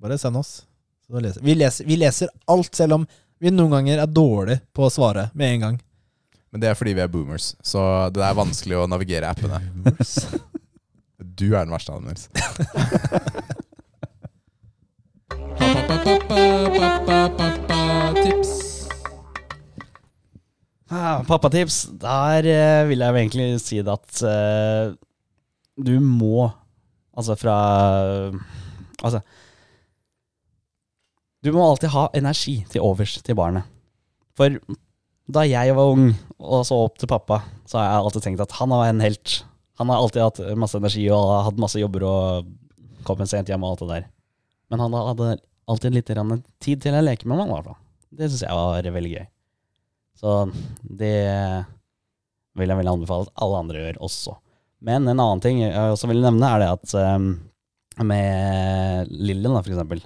S1: Bare send oss. Så leser. Vi, leser, vi leser alt, selv om vi noen ganger er dårlig på å svare med en gang.
S3: Men det er fordi vi er boomers, så det er vanskelig å navigere i appene. <laughs> Du er den verste av dem, <laughs> Nils.
S2: Ah, pappatips. Der eh, vil jeg jo egentlig si det at eh, du må Altså fra Altså Du må alltid ha energi til overs til barnet. For da jeg var ung og så opp til pappa, så har jeg alltid tenkt at han var en helt. Han har alltid hatt masse energi og har hatt masse jobber og kommet sent hjem og alt det der. Men han hadde alltid litt grann tid til å leke med meg. i hvert fall. Det syns jeg var veldig gøy. Så det vil jeg veldig anbefale at alle andre gjør også. Men en annen ting jeg også vil nevne, er det at eh, med Lillen, da, for eksempel,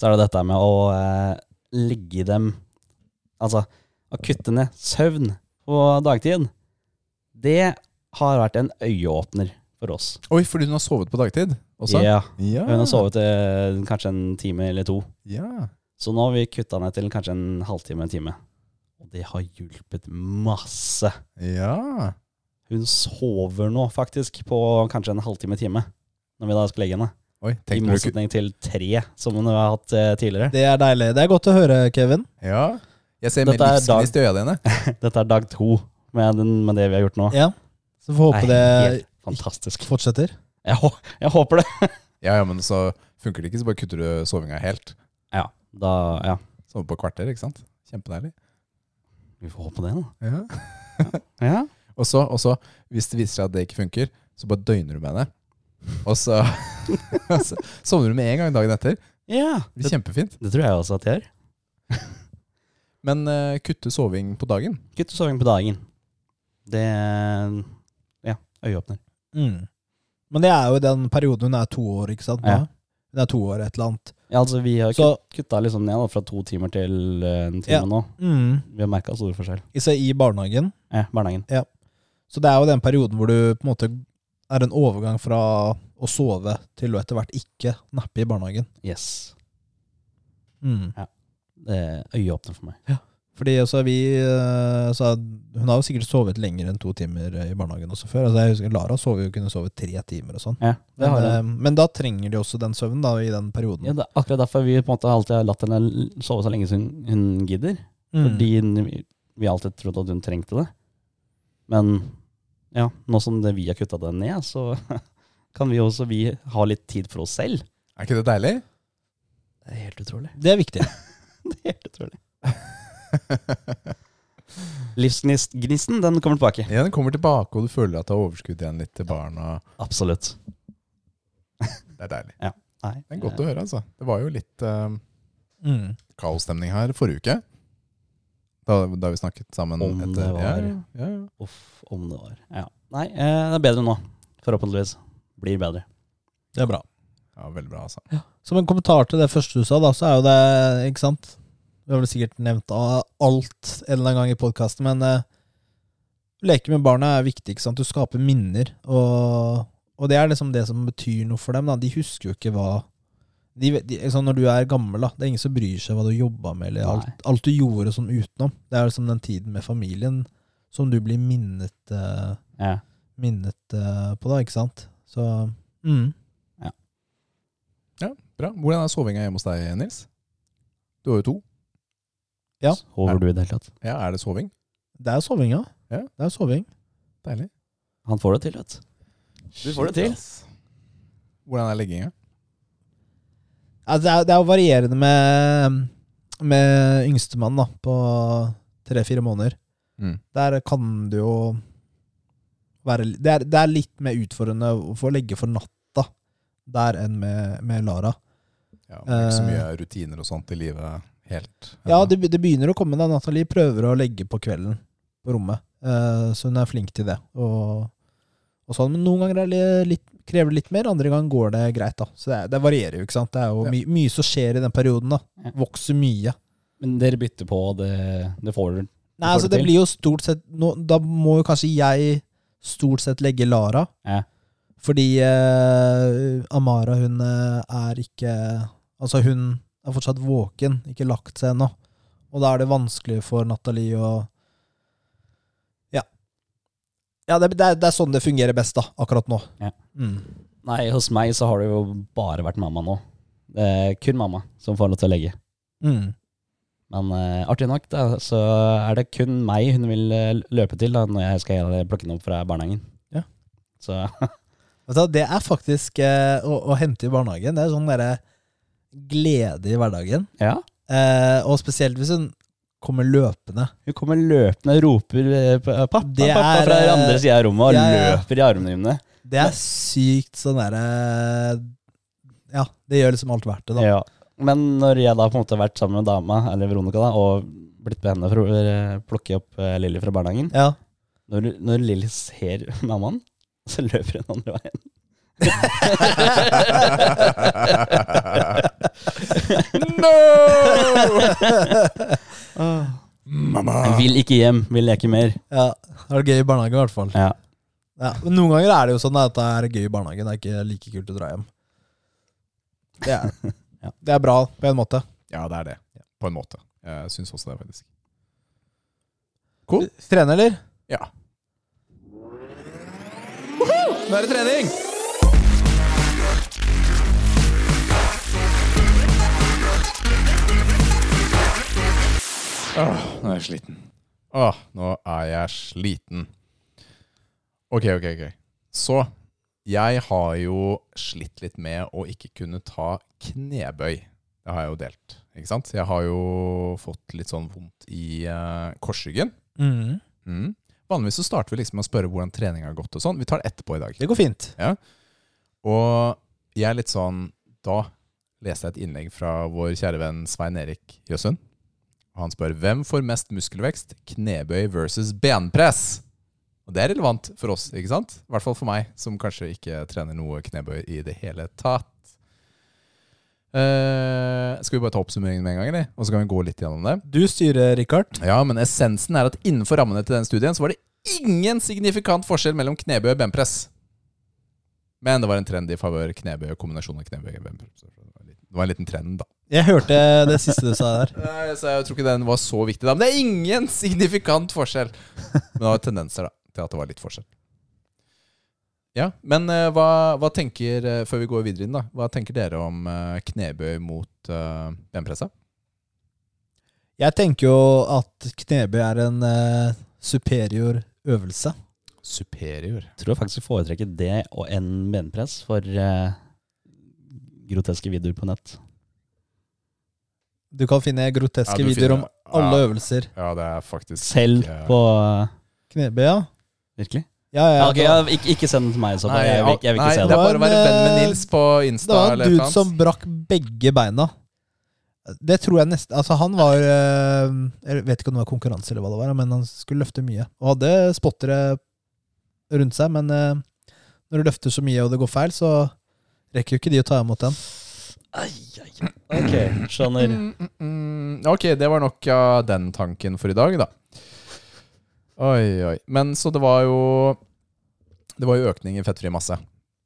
S2: så er det dette med å eh, legge dem Altså å kutte ned søvn på dagtid. Det har vært en øyeåpner for oss.
S3: Oi, fordi hun har sovet på dagtid også? Ah.
S2: Ja,
S3: Ja.
S2: hun har sovet eh, kanskje en time eller to.
S3: Ja.
S2: Så nå har vi kutta ned til kanskje en halvtime, en time. Og det har hjulpet masse.
S3: ja.
S2: Hun sover nå faktisk på kanskje en halvtime, time. Når vi da skal legge henne.
S3: Oi,
S2: I
S3: tenk når du ku-
S2: motsetning til tre som hun har hatt eh, tidligere.
S1: Det er deilig. Det er godt å høre, Kevin.
S3: Ja. Jeg ser
S2: Dette
S3: mer
S2: er
S3: livsgnist i øya dine.
S2: Dette er dag to med, den, med det vi har gjort nå.
S1: Ja. Så får håpe
S2: Det
S1: det
S2: er Ah. helt fantastisk.
S1: fortsetter.
S2: Jeg, hå- jeg håper det.
S3: Ja, ja, men så funker det ikke, så bare kutter du sovinga helt.
S2: Ja, da Ja.
S3: Sove på kvarter, ikke sant? Kjempedeilig.
S2: Vi får håpe det, da.
S3: Ja.
S2: Ja.
S3: Og så, og så, hvis det viser seg at det ikke funker, så bare døgner du med det. Og så, <laughs> så sovner du med en gang dagen etter.
S2: ja.
S3: Det blir
S2: Det,
S3: kjempefint.
S2: det tror jeg også at jeg gjør.
S3: Men eh, kutte soving på dagen.
S2: Kutte soving på dagen. Det Ja, øyeåpner.
S1: Mm. Men det er jo den perioden hun er to år, ikke sant? nå?
S2: Ja.
S1: Hun er to år, et eller annet.
S2: Ja, altså, vi har
S1: Så-
S2: kut- kutta liksom ned da, fra to timer til eh, en time
S1: Ja.
S2: nå.
S1: Mm.
S2: Vi har merka stor forskjell.
S1: Ikke i barnehagen.
S2: Ja, barnehagen.
S1: Så det er jo den perioden hvor du på en måte er en overgang fra å sove til å etter hvert ikke nappe i barnehagen.
S2: Yes.
S1: Mm.
S2: Det er øyeåpner for meg.
S1: Fordi altså, vi eh, så Hun har jo sikkert sovet lenger enn to timer eh, i barnehagen også før. Altså, jeg husker Lara sov jo kunne sove tre timer og sånn.
S2: Ja, det
S1: Men,
S2: har
S1: eh,
S2: jeg.
S1: men da trenger de også den søvnen da, i den perioden.
S2: Ja, det er akkurat derfor vi på en måte alltid har latt henne l- sove så lenge som hun, hun gidder.
S1: Mm.
S2: Fordi n- vi alltid trodde at hun trengte det. Men ja, nå som det vi har kutta det ned, så <laughs> kan vi også vi ha litt tid for oss selv.
S3: Er ikke det deilig? <laughs>
S2: Det er helt utrolig.
S1: Det er viktig.
S2: <laughs> Det er helt utrolig. Livsgnisten den kommer tilbake.
S3: Ja, den kommer tilbake, og du føler at du har overskudd igjen litt til barna.
S2: Absolutt.
S3: Det er deilig.
S2: Nei.
S3: Det er godt å høre, altså. Det var jo litt eh,
S1: Mm.
S3: kaosstemning her forrige uke. Da, da vi snakket sammen
S2: Om
S3: etter
S2: det var-
S3: ja, ja, ja.
S2: eh, Uff, om det var. Ja. Nei, eh, det er bedre nå. Forhåpentligvis. Blir bedre.
S1: Det er bra.
S3: ja, veldig bra, altså.
S1: Som en kommentar til det første du sa, da, så er jo det Ikke sant? Vi har vel sikkert nevnt a- alt en eller annen gang i podkasten, men eh, leke med barna er viktig. ikke sant? Du skaper minner, og, og det er liksom det som betyr noe for dem. da. De husker jo ikke hva de, vet- de, liksom Når du er gammel, da, det er ingen som bryr seg hva du jobba med, eller alt,
S2: Nei.
S1: alt du gjorde sånn utenom. Det er liksom den tiden med familien som du blir minnet, eh,
S2: Ja.
S1: minnet eh, på, da, ikke sant? Så mm.
S3: Bra. Hvordan er sovinga hjemme hos deg, Nils? Du har jo to.
S1: Ja.
S2: Sover du i det hele tatt?
S3: Ja, Er det soving?
S1: Det er sovinga.
S3: Ja.
S1: Det er soving.
S3: Deilig.
S2: Han får det til, vet du. Du får det til.
S3: Shit, ass. Hvordan er legginga?
S1: Ja, det, er, det er jo varierende med, med yngstemann da, på tre-fire måneder.
S3: Mm.
S1: Der kan det jo være li- Det er, det er litt mer utfordrende å få legge for natta der enn med, med Lara.
S3: Ja, det er ikke så
S1: Eh.
S3: mye rutiner og sånt i livet helt.
S1: Ja,
S3: <laughs>
S1: det, be- det begynner å komme da. Nathalie prøver å legge på kvelden på rommet, Eh, så hun er flink til det. Og, og sånn. Men noen ganger er det litt, krever det litt mer, andre ganger går det greit. da. Så det, er- det varierer jo, ikke sant. Det er jo
S3: Ja.
S1: my, mye som skjer i den perioden.
S2: Ja.
S1: da. Vokser mye.
S2: Men dere bytter på, det, det får du.
S1: Nei,
S2: får
S1: altså
S2: det
S1: det
S2: til.
S1: blir jo stort sett nå, Da må jo kanskje jeg stort sett legge Lara.
S2: Ja.
S1: Fordi eh, Amara, hun eh, er ikke Altså, hun er fortsatt våken, ikke lagt seg ennå. Og da er det vanskelig for Nathalie å Ja. Ja, det, det, er, det er sånn det fungerer best, da, akkurat nå.
S2: Ja.
S1: Mm.
S2: Nei, hos meg så har det jo bare vært mamma nå. Det er kun mamma som får lov til å legge.
S1: Mm.
S2: Men eh, artig nok, da, så er det kun meg hun vil eh, løpe til da, når jeg skal plukke henne opp fra barnehagen.
S1: Ja.
S2: Så <laughs>
S1: Vet du hva, det er faktisk eh, å, å hente i barnehagen. Det er sånn derre glede i hverdagen.
S2: ja,
S1: Eh, og spesielt hvis hun kommer løpende.
S2: hun kommer løpende og roper eh, p- pappa,
S1: Det
S2: pappa
S1: er,
S2: fra
S1: eh,
S2: andre sida av rommet og
S1: ja, ja.
S2: løper i armene dine.
S1: Det er sykt sånn derre Ja, det gjør liksom alt verdt det, da.
S2: Ja. Men når jeg da på en måte har vært sammen med dama, eller Veronica, da, og blitt med henne for å eh, plukke opp eh, Lilly fra barnehagen
S1: Ja.
S2: Når, når Lilly ser mammaen, så løper hun andre veien.
S3: Mamma!
S2: Vil ikke hjem, vil leke mer.
S1: ja. Det er gøy i barnehagen, i hvert fall.
S2: Ja.
S1: Ja. Men noen ganger er det jo sånn at det er gøy i barnehagen. Det er ikke like kult å dra hjem. Det
S2: <laughs>
S1: er,
S2: Ja.
S1: det er bra, på en måte.
S3: Ja, det er det. På en måte. Jeg syns også det, faktisk. Cool.
S1: Trene, eller?
S3: Ja. Nå er det trening! Åh, nå er jeg sliten. Åh, nå er jeg sliten. Ok, ok, ok. Så jeg har jo slitt litt med å ikke kunne ta knebøy. Det har jeg jo delt, ikke sant? Jeg har jo fått litt sånn vondt i eh, korsryggen.
S1: Mhm.
S3: Mm. Vanligvis så starter vi liksom med å spørre hvordan treninga har gått og sånn. Vi tar det etterpå i dag.
S1: Det går fint.
S3: Og jeg er litt sånn Da leste jeg et innlegg fra vår kjære venn Svein Erik Jøsund. Og Han spør hvem får mest muskelvekst, knebøy versus benpress? Og det er relevant for oss, ikke sant? I hvert fall for meg, som kanskje ikke trener noe knebøy i det hele tatt. Eh, skal vi bare ta oppsummeringen med en gang, eller? Og så kan vi gå litt gjennom det.
S1: Du styrer, Richard.
S3: Ja, men essensen er at innenfor rammene til den studien så var det ingen signifikant forskjell mellom knebøy og benpress. Men det var en trend i favør knebøy og kombinasjonen av knebøy og benpress. Det var en liten trend, da.
S1: Jeg hørte det siste du sa der.
S3: Nei, Så jeg tror ikke den var så viktig. da Men det er ingen <laughs> signifikant <laughs> forskjell. Men det var tendenser da til at det var litt forskjell. Ja, Men eh, hva, hva tenker eh, Før vi går videre inn, da hva tenker dere om eh, knebøy mot uh, benpressa?
S1: Jeg tenker jo at knebøy er en eh, superior øvelse.
S3: Superior.
S2: Tror jeg faktisk foretrekker det og en benpress for eh, groteske videoer på nett.
S1: Du kan finne groteske
S3: Ja, du
S1: videoer om
S3: finner-
S1: alle
S3: ja.
S1: øvelser.
S3: Ja, det er faktisk
S2: Selv
S3: ikke-
S2: på eh,
S1: Knebøy, ja.
S2: Virkelig?
S1: Ja, ja,
S2: Ja, ok,
S1: det
S2: ja,
S1: var-
S2: ikke, ikke send den til meg, så
S3: Nei,
S2: jeg, vil- jeg vil
S3: nei,
S2: ikke se
S3: det
S2: det.
S3: er bare å være
S1: Det var
S3: venn
S1: en,
S3: med Nils på
S1: det
S3: Insta.
S1: var
S3: eller
S1: en
S3: et
S1: dude
S3: eller
S1: som
S3: annet.
S1: brakk begge beina. Det tror jeg nesten Altså, han var eh, Jeg vet ikke om det var konkurranse eller hva det var, men han skulle løfte mye. Og hadde spottere rundt seg, men eh, når du løfter så mye og det går feil, så rekker jo ikke de å ta imot den.
S2: Ok, skjønner.
S3: Mm, mm, mm. Ok, det var nok av den tanken for i dag, da. Oi, oi. Men så det var jo Det var jo økning i fettfri masse.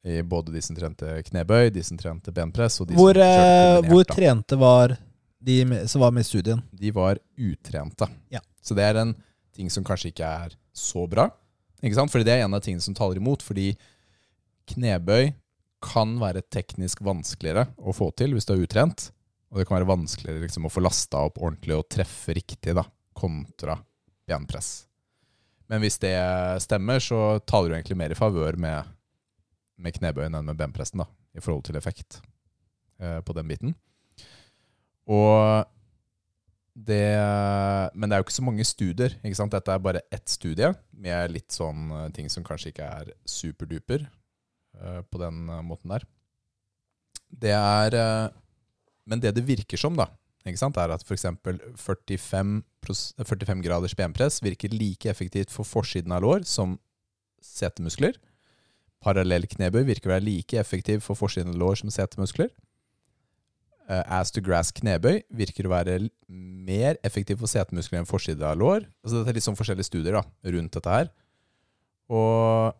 S3: I både de som trente knebøy, de som trente benpress, og de
S1: Hvor,
S3: som
S1: eh,
S3: kjørte
S1: hvor
S3: kombinert.
S1: trente var de med, som var med i studien?
S3: da. De var utrente.
S1: Ja.
S3: Så det er en ting som kanskje ikke er så bra. Ikke sant? Fordi det er en av tingene som taler imot. Fordi knebøy kan være teknisk vanskeligere å få til hvis du er utrent. Og det kan være vanskeligere liksom, å få lasta opp ordentlig og treffe riktig, da, kontra benpress. Men hvis det stemmer, så taler du egentlig mer i favør med, med knebøyen enn med benpressen, da, i forhold til effekt eh, på den biten. Og det Men det er jo ikke så mange studier, ikke sant? Dette er bare ett studie med litt sånn eh, ting som kanskje ikke er superduper eh, på den eh, måten der. Det er eh, Men det det virker som, da, ikke sant, er at f.eks. 45, pros- 45 graders benpress virker like effektivt for forsiden av lår som setemuskler. Parallell knebøy virker å være like effektiv for forsiden av lår som setemuskler. Eh, ass to grass knebøy virker å være l- mer effektiv for setemuskler enn forside av lår. Altså dette er litt sånn forskjellige studier da, rundt dette her. Og,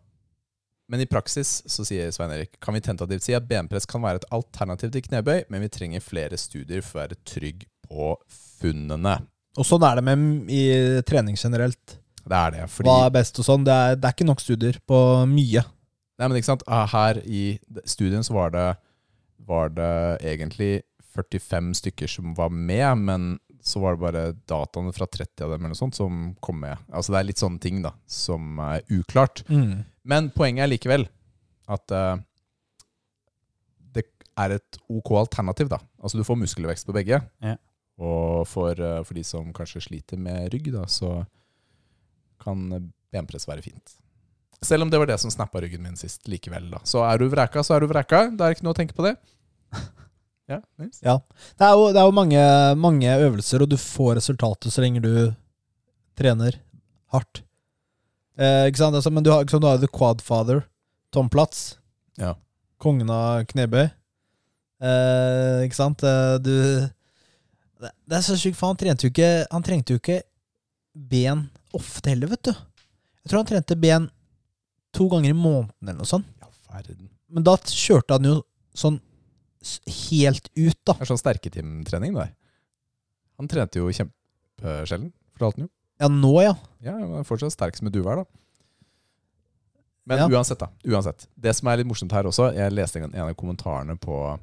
S3: men i praksis så sier Svein Erik kan vi tentativt si at benpress kan være et alternativ til knebøy, men vi trenger flere studier for å være trygg på funnene.
S1: Og sånn er det med m- i trening generelt.
S3: Det er det. Fordi,
S1: Hva er best og sånn. Det er, det er ikke nok studier på mye.
S3: nei, men ikke sant? Ah, Her i d- studien så var det, var det egentlig 45 stykker som var med, men så var det bare dataene fra 30 av dem eller noe sånt som kom med. Altså Det er litt sånne ting da, som er uklart. Men poenget er likevel at eh, det er et OK alternativ. da. Altså Du får muskelvekst på begge.
S2: Ja.
S3: Og for, eh, for de som kanskje sliter med rygg, da, så kan benpress være fint. Selv om det var det som snappa ryggen min sist likevel. da. Så er du vreka, så er du vreka. Det er ikke noe å tenke på <laughs> det. Ja, Nils?
S1: Ja. Det er jo, det er jo mange, mange øvelser, og du får resultatet så lenge du trener hardt. Eh, ikke sant? Altså, men du har, ikke sant, du har The Quadfather, Tom Platz,
S3: Ja.
S1: kongen av knebøy. Eh, ikke sant? Eh, du det, det er så sjukt, for han trente jo ikke Han trengte jo ikke ben ofte heller, vet du. Jeg tror han trente ben to ganger i måneden eller noe sånt.
S3: ja verden.
S1: Men da kjørte han jo sånn s- helt ut, da.
S3: Det er sånn sterketimtrening, det der. Han trente jo kjempesjelden, fortalte han jo.
S1: Ja, nå, ja.
S3: Ja, men fortsatt sterk som et uvær, da. Men
S1: Ja.
S3: uansett, da. Uansett. Det som er litt morsomt her også, jeg leste en en av kommentarene på,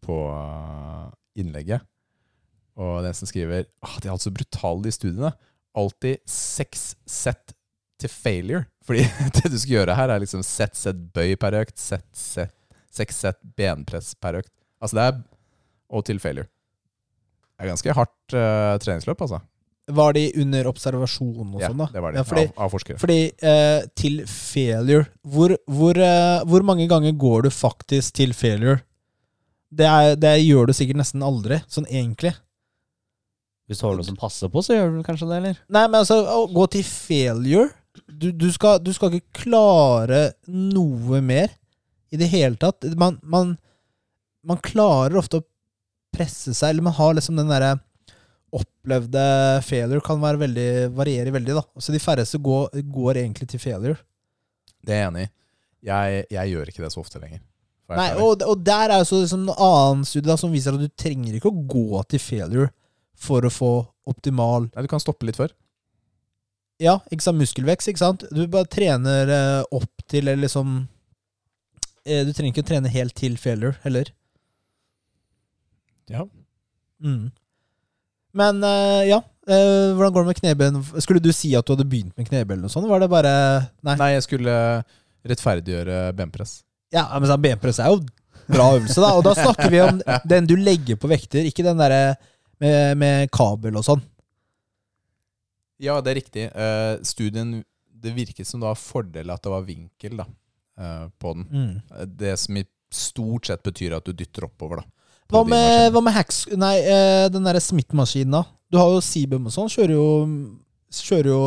S3: på øh, innlegget, og den som skriver ah, De er altså brutale, de studiene. Alltid seks sett til failure. Fordi <laughs> det du skal gjøre her, er liksom sett, sett bøy per økt, sett, sett, seks sett benpress per økt. Altså det er Og til failure. Det er ganske hardt øh, treningsløp, altså.
S1: Var de under observasjon og
S3: Ja,
S1: sånn, da?
S3: det var det.
S1: Ja, fordi
S3: av, av forskere.
S1: fordi eh, til failure hvor, hvor, eh, hvor mange ganger går du faktisk til failure? Det, er, det gjør du sikkert nesten aldri, sånn egentlig.
S2: Hvis du har noe som passer på, så gjør du kanskje det, eller?
S1: Nei, men altså, å gå til failure Du, du, skal, du skal ikke klare noe mer i det hele tatt. Man, man, man klarer ofte å presse seg, eller man har liksom den derre opplevde failure kan være veldig, variere veldig, da. Så de færreste går, går egentlig til failure.
S3: Det er jeg enig i. Jeg, jeg gjør ikke det så ofte lenger. for å
S1: Nei,
S3: være ærlig.
S1: og, og der er jo så liksom en annen studie da, som viser at du trenger ikke å gå til failure for å få optimal
S3: Nei, du kan stoppe litt før.
S1: Ja, ikke sant, muskelvekst, ikke sant? Du bare trener eh, opp til, eller liksom eh, Du trenger ikke å trene helt til failure heller.
S5: Ja.
S1: Mm. Men eh, ja, eh, hvordan går det med knebøyen? Skulle du si at du hadde begynt med knebøy eller noe sånt? Var det bare Nei.
S3: Nei, jeg skulle rettferdiggjøre benpress.
S1: Ja, men sånn benpress er jo bra øvelse, da. Og da snakker vi om den du legger på vekter, ikke den derre med, med kabel og sånn.
S3: Ja, det er riktig. Eh, studien Det virket som det var fordel at det var vinkel da, eh, på den.
S1: Mm.
S3: Eh, Det som i stort sett betyr at du dytter oppover, da. på
S1: Hva
S3: din
S1: med,
S3: maskin.
S1: hva med hacks... Nei, eh, den derre Smith-maskinen, da. Du har jo Sibum og sånn. Kjører jo, kjører jo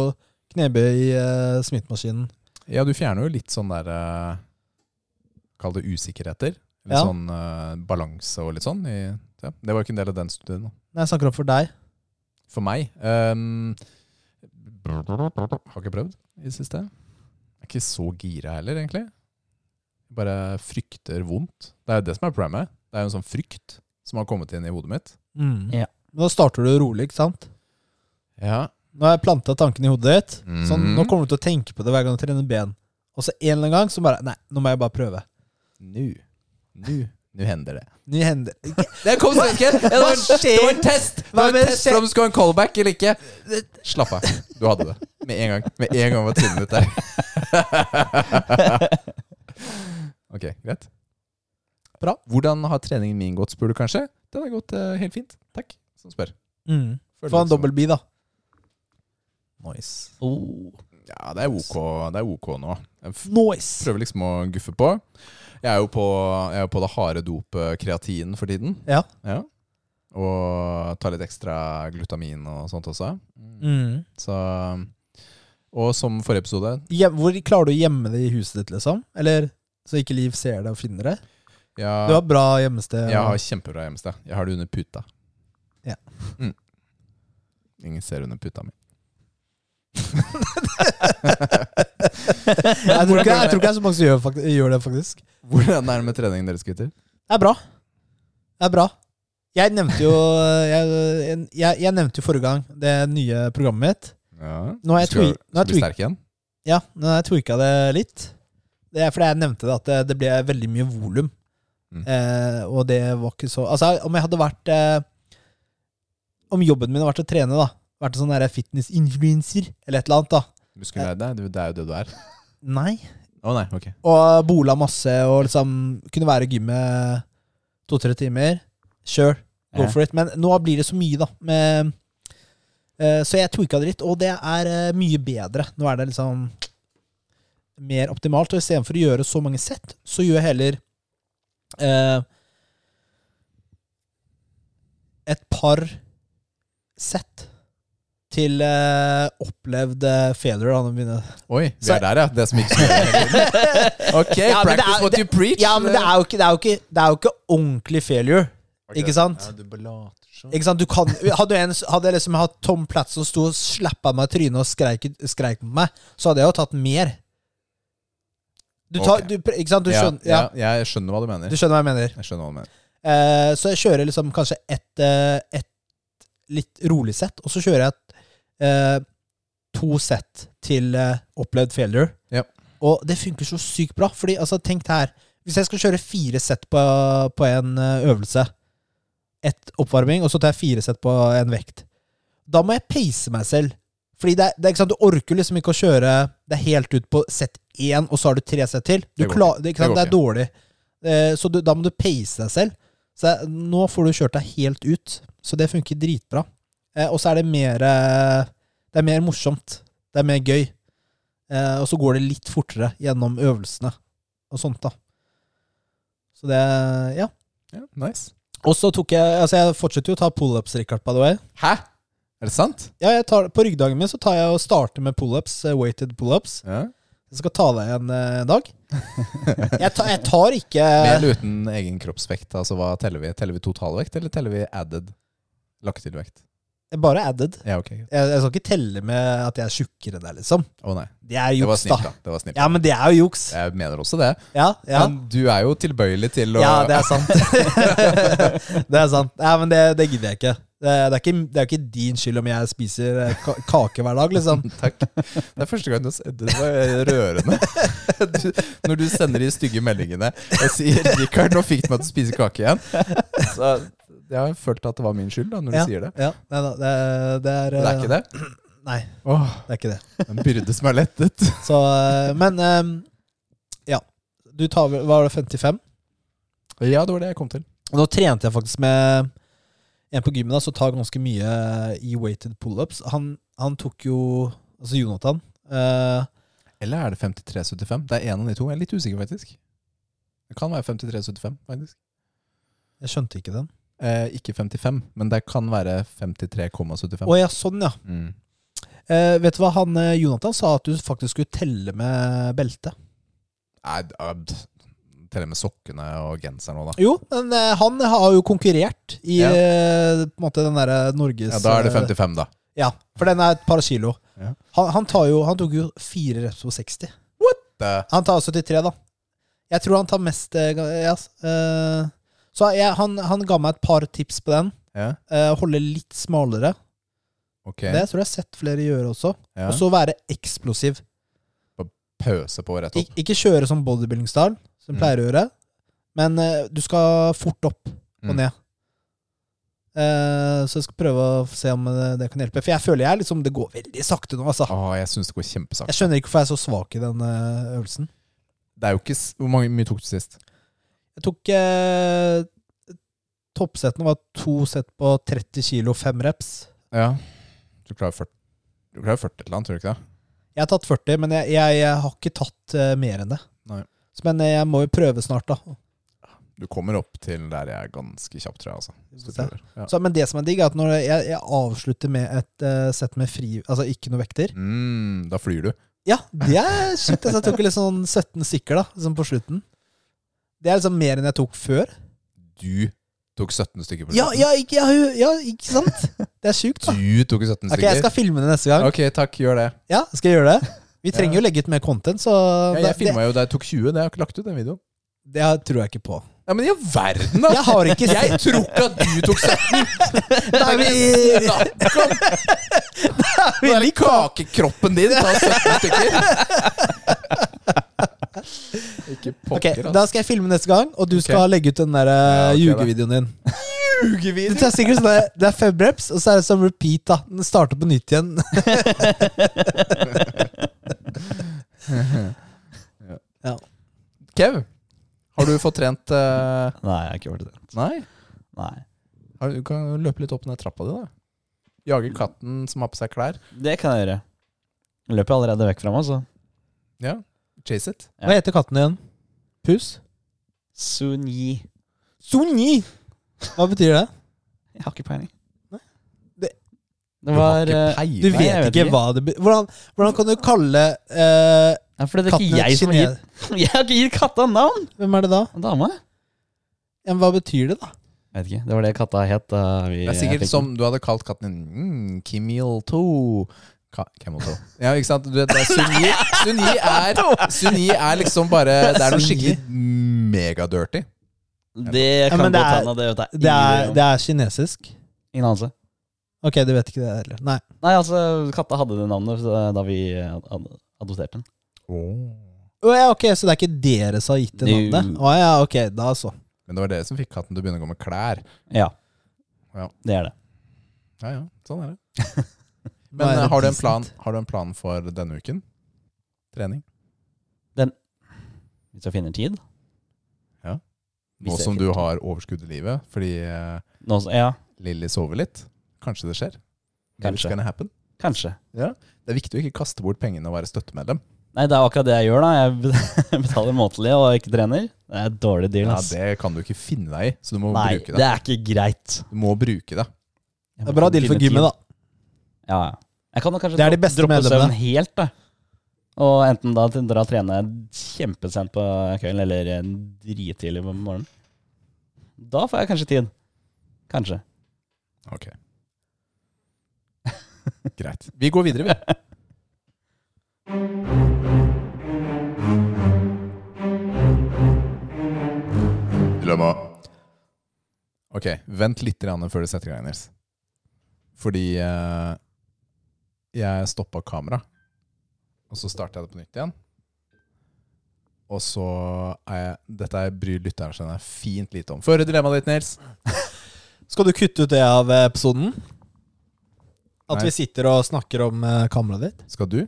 S1: knebøy i eh, Smith-maskinen.
S3: Ja, du fjerner jo litt sånn der eh, Kall det usikkerheter. Litt
S1: Ja.
S3: sånn eh, balanse og litt sånn. I, ja. Det var ikke en del av den studien. da.
S1: Nei, jeg snakker om for deg.
S3: For meg um, Har ikke prøvd i det siste. Er ikke så gira heller, egentlig. Bare frykter vondt. Det er jo det som er problemet. Det er jo en sånn frykt som har kommet inn i hodet mitt.
S1: Mm.
S2: Ja.
S1: Men Da starter du rolig, ikke sant?
S3: Ja.
S1: Nå har jeg planta tanken i hodet ditt. Sånn,
S3: Mhm.
S1: nå kommer du til å tenke på det hver gang du trener ben. Og så en eller annen gang så bare Nei, nå må jeg bare prøve.
S3: Nu. Nu. Nu hender det.
S1: Nye hender
S3: Det kom svensken! Ja, det, var-
S1: Hva skjer?
S3: det var en test! Det
S1: Hva
S3: var en
S1: med
S3: test
S1: skje-
S3: for om du skulle ha en callback eller ikke. Slapp av. Du hadde det. Med en gang. Med en gang var tiden ute
S1: <laughs>
S3: der. ok, greit.
S1: Bra.
S3: Hvordan har treningen min gått, spør du kanskje? Den har gått eh, helt fint. Takk, som spør.
S1: Mm.
S3: Føler
S1: Få en
S3: det som-
S1: dobbel bi, da.
S3: Nice.
S2: Oh.
S3: Ja, det er ok, det er ok nå. Jeg f-
S1: Nice!
S3: prøver liksom å guffe på. Jeg er jo på, jeg er jo på det harde dopet kreatin for tiden.
S1: Ja.
S3: ja. Og tar litt ekstra glutamin og sånt også.
S1: Mm.
S3: Så, og som forrige episode
S1: Hjem, hvor klarer du å gjemme det i huset ditt, liksom? Eller så ikke Liv ser det og finner det? Du
S3: jeg,
S1: har bra gjemmested.
S3: jeg har kjempebra hjemsted. Jeg har det under puta.
S1: Ja.
S3: Mm. Ingen ser under
S1: <laughs>
S3: puta mi.
S1: jeg, tror ikke, jeg tror ikke det er så mange som gjør, fakt- gjør det, faktisk.
S3: Hvordan er det med treningen deres, gutter?
S1: Det er bra. Det er bra. Jeg nevnte jo eh, jeg, jeg, jeg nevnte jo forrige gang det nye programmet mitt.
S3: Ja.
S1: Nå har jeg
S3: skal,
S1: twi- nå har jeg
S3: skal bli
S1: twi-
S3: sterk igjen?
S1: Ja, nå har jeg tweaka det litt. Det er fordi jeg nevnte det, at det, det ble veldig mye volum.
S3: Mm.
S1: Eh, og det var ikke så Altså, om jeg hadde vært eh, Om jobben min hadde vært å trene, da. Vært en sånn der fitness-influencer eller et eller annet, da.
S3: Muskulær, det, er- det er jo det du er.
S1: Nei.
S3: Å nei, ok.
S1: Og bola masse og liksom kunne være i gymmet to-tre timer. Sure, go
S2: Ja.
S1: for it. Men nå blir det så mye, da. Med, eh, så jeg tweaka det litt, og det er eh, mye bedre. Nå er det liksom mer optimalt. Og istedenfor å gjøre så mange sett, så gjør jeg heller eh, et par sett til eh, opplevd eh, failure. Da, når vi begynner.
S3: Oi, vi
S1: Så-
S3: er der, ja. Det som
S1: <laughs>
S3: ikke skulle Ok,
S1: Ja, men det
S3: practice
S1: er-
S3: what you preach.
S1: Ja, men det er jo ikke, det er jo ikke, det er jo ikke ordentlig failure. Ikke sant?
S3: Ja, du bare later sånn.
S1: Ikke sant? Du kan, hadde, jeg en, hadde jeg liksom hatt Tom Platz som sto og slappa meg i trynet og skreik, skreik mot meg, så hadde jeg jo tatt mer. Du tar,
S3: Ok.
S1: du, pr- ikke sant? Du
S3: ja,
S1: skjønner, ja,
S3: ja, jeg skjønner hva du mener.
S1: du skjønner hva jeg mener.
S3: Jeg skjønner hva du mener.
S1: Eh, så jeg kjører liksom kanskje ett eh, et litt rolig sett, og så kjører jeg et, eh, to sett til eh, opplevd failure.
S3: Ja.
S1: Og det funker så sykt bra. Fordi, altså, tenk det her. Hvis jeg skal kjøre fire sett på, på en eh, øvelse, ett oppvarming, og så tar jeg fire sett på en vekt, da må jeg pace meg selv. Fordi det er, det er ikke sant, Du orker liksom ikke å kjøre deg helt ut på sett én, og så har du tre sett til. Du
S3: Det går
S1: klar, det, ikke sant?
S3: Det
S1: det er
S3: går
S1: dårlig. Eh, Så du, da må du pace deg selv. Så jeg- nå får du kjørt deg helt ut. Så det funker dritbra. Eh, Og så er det mer eh, Det er mer morsomt. Det er mer gøy. Eh, Og så går det litt fortere gjennom øvelsene og sånt, da. Så det Ja.
S3: Ja, nice.
S1: Og så tok jeg Altså, jeg fortsetter jo å ta pullups, Richard, by the way.
S3: Hæ? Er det sant?
S1: Ja, jeg tar, på ryggdagen min så tar jeg og starter med pullups, eh, weighted pullups.
S3: Ja.
S1: Jeg skal ta deg en eh,
S3: <laughs>
S1: dag. Jeg, ta, jeg tar ikke
S3: Med eller uten egen kroppsvekt? Altså hva Teller vi Teller vi totalvekt, eller teller vi added? Lagt til vekt?
S1: Bare added.
S3: Ja, ok. greit.
S1: Jeg, jeg skal ikke telle med at jeg er tjukkere der, liksom.
S3: Å nei.
S1: Det er
S3: Det var
S1: juks,
S3: snilt,
S1: da.
S3: da. Det var snilt.
S1: Ja, men det er jo juks.
S3: Jeg mener også det.
S1: Ja, ja.
S3: Men du er jo tilbøyelig til å
S1: ja det er sant. <laughs> det er sant. Ja, men det, det gidder jeg ikke. Det, det, er ikke. det er jo ikke din skyld om jeg spiser eh, ka- kake hver dag, liksom.
S3: <laughs> Takk. Det er første gang du har sett Det var rørende. <laughs> Du, når du sender de stygge meldingene og sier 'Richard, nå fikk du meg til å spise kake igjen', så jeg har følt at det var min skyld da, når du
S1: Ja,
S3: sier det.
S1: Ja, nei, da, det, det er
S3: Men det er ikke det.
S1: Nei,
S3: Åh,
S1: det er ikke det.
S3: en byrde som er lettet.
S1: Så, eh, men eh, ja. Du tar vel Var det 55?
S3: <laughs> Ja, det var det jeg kom til.
S1: Og nå trente jeg faktisk med en på gymmen da, som tar ganske mye i weighted pull-ups. Han, han tok jo Altså Jonathan. eh,
S3: Eller er det 53-75? Det er en av de to. Jeg er litt usikker, faktisk. Det kan være 53-75, faktisk.
S1: jeg skjønte ikke den.
S3: Eh, ikke 55, men det kan være 53,75.
S1: Å ja, sånn ja.
S3: Mm.
S1: Eh, vet du hva han eh, Jonathan sa? At du faktisk skulle telle med belte.
S3: Nei, d- ah, d- Telle med sokkene og genseren òg, da.
S1: Jo, men eh, han har jo konkurrert i
S3: Ja.
S1: eh, på en måte den derre Norges
S3: Ja, Da er det
S1: eh,
S3: 55, da.
S1: Ja, for den er et par kilo.
S3: Ja.
S1: Han, han, tar jo, han tok jo fire reps på 60.
S3: Det
S1: Han tar 73, da. Jeg tror han tar mest eh, ga- ja, s- eh, Så jeg, han, han ga meg et par tips på den.
S3: Ja,
S1: Eh, holde litt smalere.
S3: ok.
S1: Det tror jeg har sett flere gjøre også.
S3: Ja.
S1: Og så være eksplosiv.
S3: Pøse på rett
S1: Ik
S3: opp.
S1: ikke kjøre som bodybuilding-style, som
S3: Mm.
S1: pleier å gjøre. Men eh, du skal fort opp og
S3: Mm.
S1: ned. Eh, så jeg skal prøve å se om eh, det kan hjelpe. For jeg føler jeg liksom, det går veldig sakte nå. Altså.
S3: Åh, jeg syns det går kjempesakt.
S1: Jeg skjønner ikke hvorfor jeg er så svak i den eh, øvelsen.
S3: Det er jo ikke s Hvor mange, mye tok du sist?
S1: Jeg tok eh, Toppsettene var to sett på 30 kilo, fem reps.
S3: Ja. Du klarer 40 Du klarer 40 et eller annet, tror du ikke det?
S1: Jeg har tatt 40, men jeg, jeg, jeg har ikke tatt eh, mer enn det.
S3: Nei.
S1: Så, men eh, jeg må jo prøve snart, da.
S3: Du kommer opp til der jeg er ganske kjapp, tror jeg. altså. Hvis du
S1: Se.
S3: prøver. Ja.
S1: Så, men det som er digg, er at når jeg, jeg avslutter med et eh, sett med fri Altså ikke noe vekter.
S3: Mm, da flyr du.
S1: Ja, det er shit. Altså, jeg tok litt sånn 17 stykker da, sånn på slutten. Det er liksom mer enn jeg tok før.
S3: Du tok 17 stykker på
S1: Ja,
S3: slutten.
S1: ja, ikke, ja, ja, ikke sant? Det er sjukt, da.
S3: Du tok 17
S1: Ok,
S3: stykker.
S1: jeg skal filme det neste gang.
S3: Ok, takk, gjør det.
S1: Ja, skal jeg gjøre det? <laughs> Vi trenger jo legge ut mer content, så
S3: Ja, jeg
S1: det, det,
S3: filma jo da jeg tok 20. Det har jeg ikke lagt ut, den videoen.
S1: det tror jeg ikke på.
S3: Ja, Men i all verden, da!
S1: Jeg har ikke
S3: Jeg tror ikke at du tok 17!
S1: <laughs> <laughs> Nei, vi,
S3: Nå er det
S1: liker-
S3: kakekroppen din! Ta 17
S1: <laughs>
S3: stykker! Ikke
S1: Ok,
S3: pokker, altså.
S1: Da skal jeg filme neste gang, og du skal legge ut den der eh,
S3: Ja, ok, da.
S1: ljugevideoen din.
S3: Ugevis.
S1: Det er sikkert sånn der- Det er fem reps, og så er det sånn repeat. da Den starter på nytt igjen. ja.
S3: Kev, har du fått trent eh,
S2: Nei, jeg har ikke gjort det.
S3: Nei?
S2: Nei.
S3: Har, du kan jo løpe litt opp ned trappa di, da. Jage katten som har på seg klær.
S2: Det kan jeg gjøre. Jeg løper allerede vekk fra meg, så.
S3: Ja. Chase it.
S1: Hva heter katten din? Pus?
S2: Sunyi.
S1: Sunyi! Hva betyr det?
S2: Jeg har ikke peiling.
S1: Nei.
S2: Det,
S1: Det-
S2: var
S3: du har
S2: eh,
S3: ikke peiling.
S1: Du
S2: Nei,
S1: vet
S2: jeg vet
S1: ikke
S2: ikke.
S1: hva det betyr. Hvordan, hvordan kan du kalle eh,
S2: ja, for det er
S1: katten
S2: ikke jeg som har
S1: kine-
S2: gitt <laughs> Jeg har ikke gitt katta navn!
S1: Hvem er det da?
S2: En Dame?
S1: Ja, men hva betyr det, da?
S2: Jeg vet ikke. Det var det katta het. da vi-
S3: Det er
S2: jeg
S3: sikkert
S2: fikk
S3: som du hadde kalt katten din mm, Kimil 2. Ka Camel 2. Ja, ikke sant? Du vet, det er Sunni, Sunni, er, Sunni er liksom bare Det er noe skikkelig megadirty.
S2: den. Det kan
S1: men det
S2: godt
S1: er-
S2: hende. Det vet jeg
S1: Det er,
S2: ingenting om.
S1: det er kinesisk.
S2: Ingen anelse.
S1: Ok, du vet ikke det heller. Nei.
S2: Nei, altså, katta hadde det navnet så da vi eh, ad- adopterte den.
S1: Å ja, ok, Så det er ikke dere som har gitt det
S2: Jo.
S1: navnet? Å ja, ok, da så.
S3: Men det var dere som fikk katten til å begynne å gå med klær.
S2: Ja.
S3: Ja.
S2: Det er det.
S3: Ja, ja, sånn er det.
S1: Nå
S3: Men
S1: er
S3: eh,
S1: det
S3: har du, en
S1: decent.
S3: plan, har du en plan for denne uken? Trening?
S2: Hvis jeg finner tid.
S3: Nå
S2: Hvis jeg
S3: som du
S2: finner tid.
S3: har overskudd i livet fordi eh,
S2: Nå, så- ja,
S3: Lilly sover litt. Kanskje det skjer. Maybe it's
S2: Kanskje.
S3: gonna happen.
S2: kanskje.
S3: Det er viktig å ikke kaste bort pengene og være støttemedlem.
S2: Nei, det er akkurat det jeg gjør, da. Jeg <laughs> bet- betaler månedlig og ikke trener. Det er et dårlig deal,
S3: Ja,
S2: ass.
S3: det kan du ikke finne deg i, så du må
S2: Nei,
S3: bruke
S2: det
S3: det.
S2: er ikke greit.
S3: Du må bruke det.
S1: Det
S2: Jeg må
S1: er bra
S2: få
S1: deal for
S2: gymmetid.
S1: gymmet, da.
S2: Ja, ja. Jeg kan jo kanskje
S1: Det er
S2: dro-
S1: de beste
S2: droppe
S1: medlemmene.
S2: søvn helt, da. Og enten da til- dra og trene kjempesent på kvelden, eller eh, drittidlig på morgenen.
S3: <laughs>
S2: Da får jeg kanskje tid. Kanskje.
S3: Ok. Greit. Vi går videre, vi. Dilemma. Ok, vent litt grann før du setter i gang, Nils. Fordi eh, jeg stoppa kameraet, og så starta jeg det på nytt igjen. Og så er jeg Dette er- bryr lytteren seg fint lite om. Føre dilemmaet ditt, Nils.
S1: Skal du kutte ut det av eh, episoden? At
S3: Nei.
S1: vi sitter og snakker om eh, kameraet ditt?
S3: Skal du?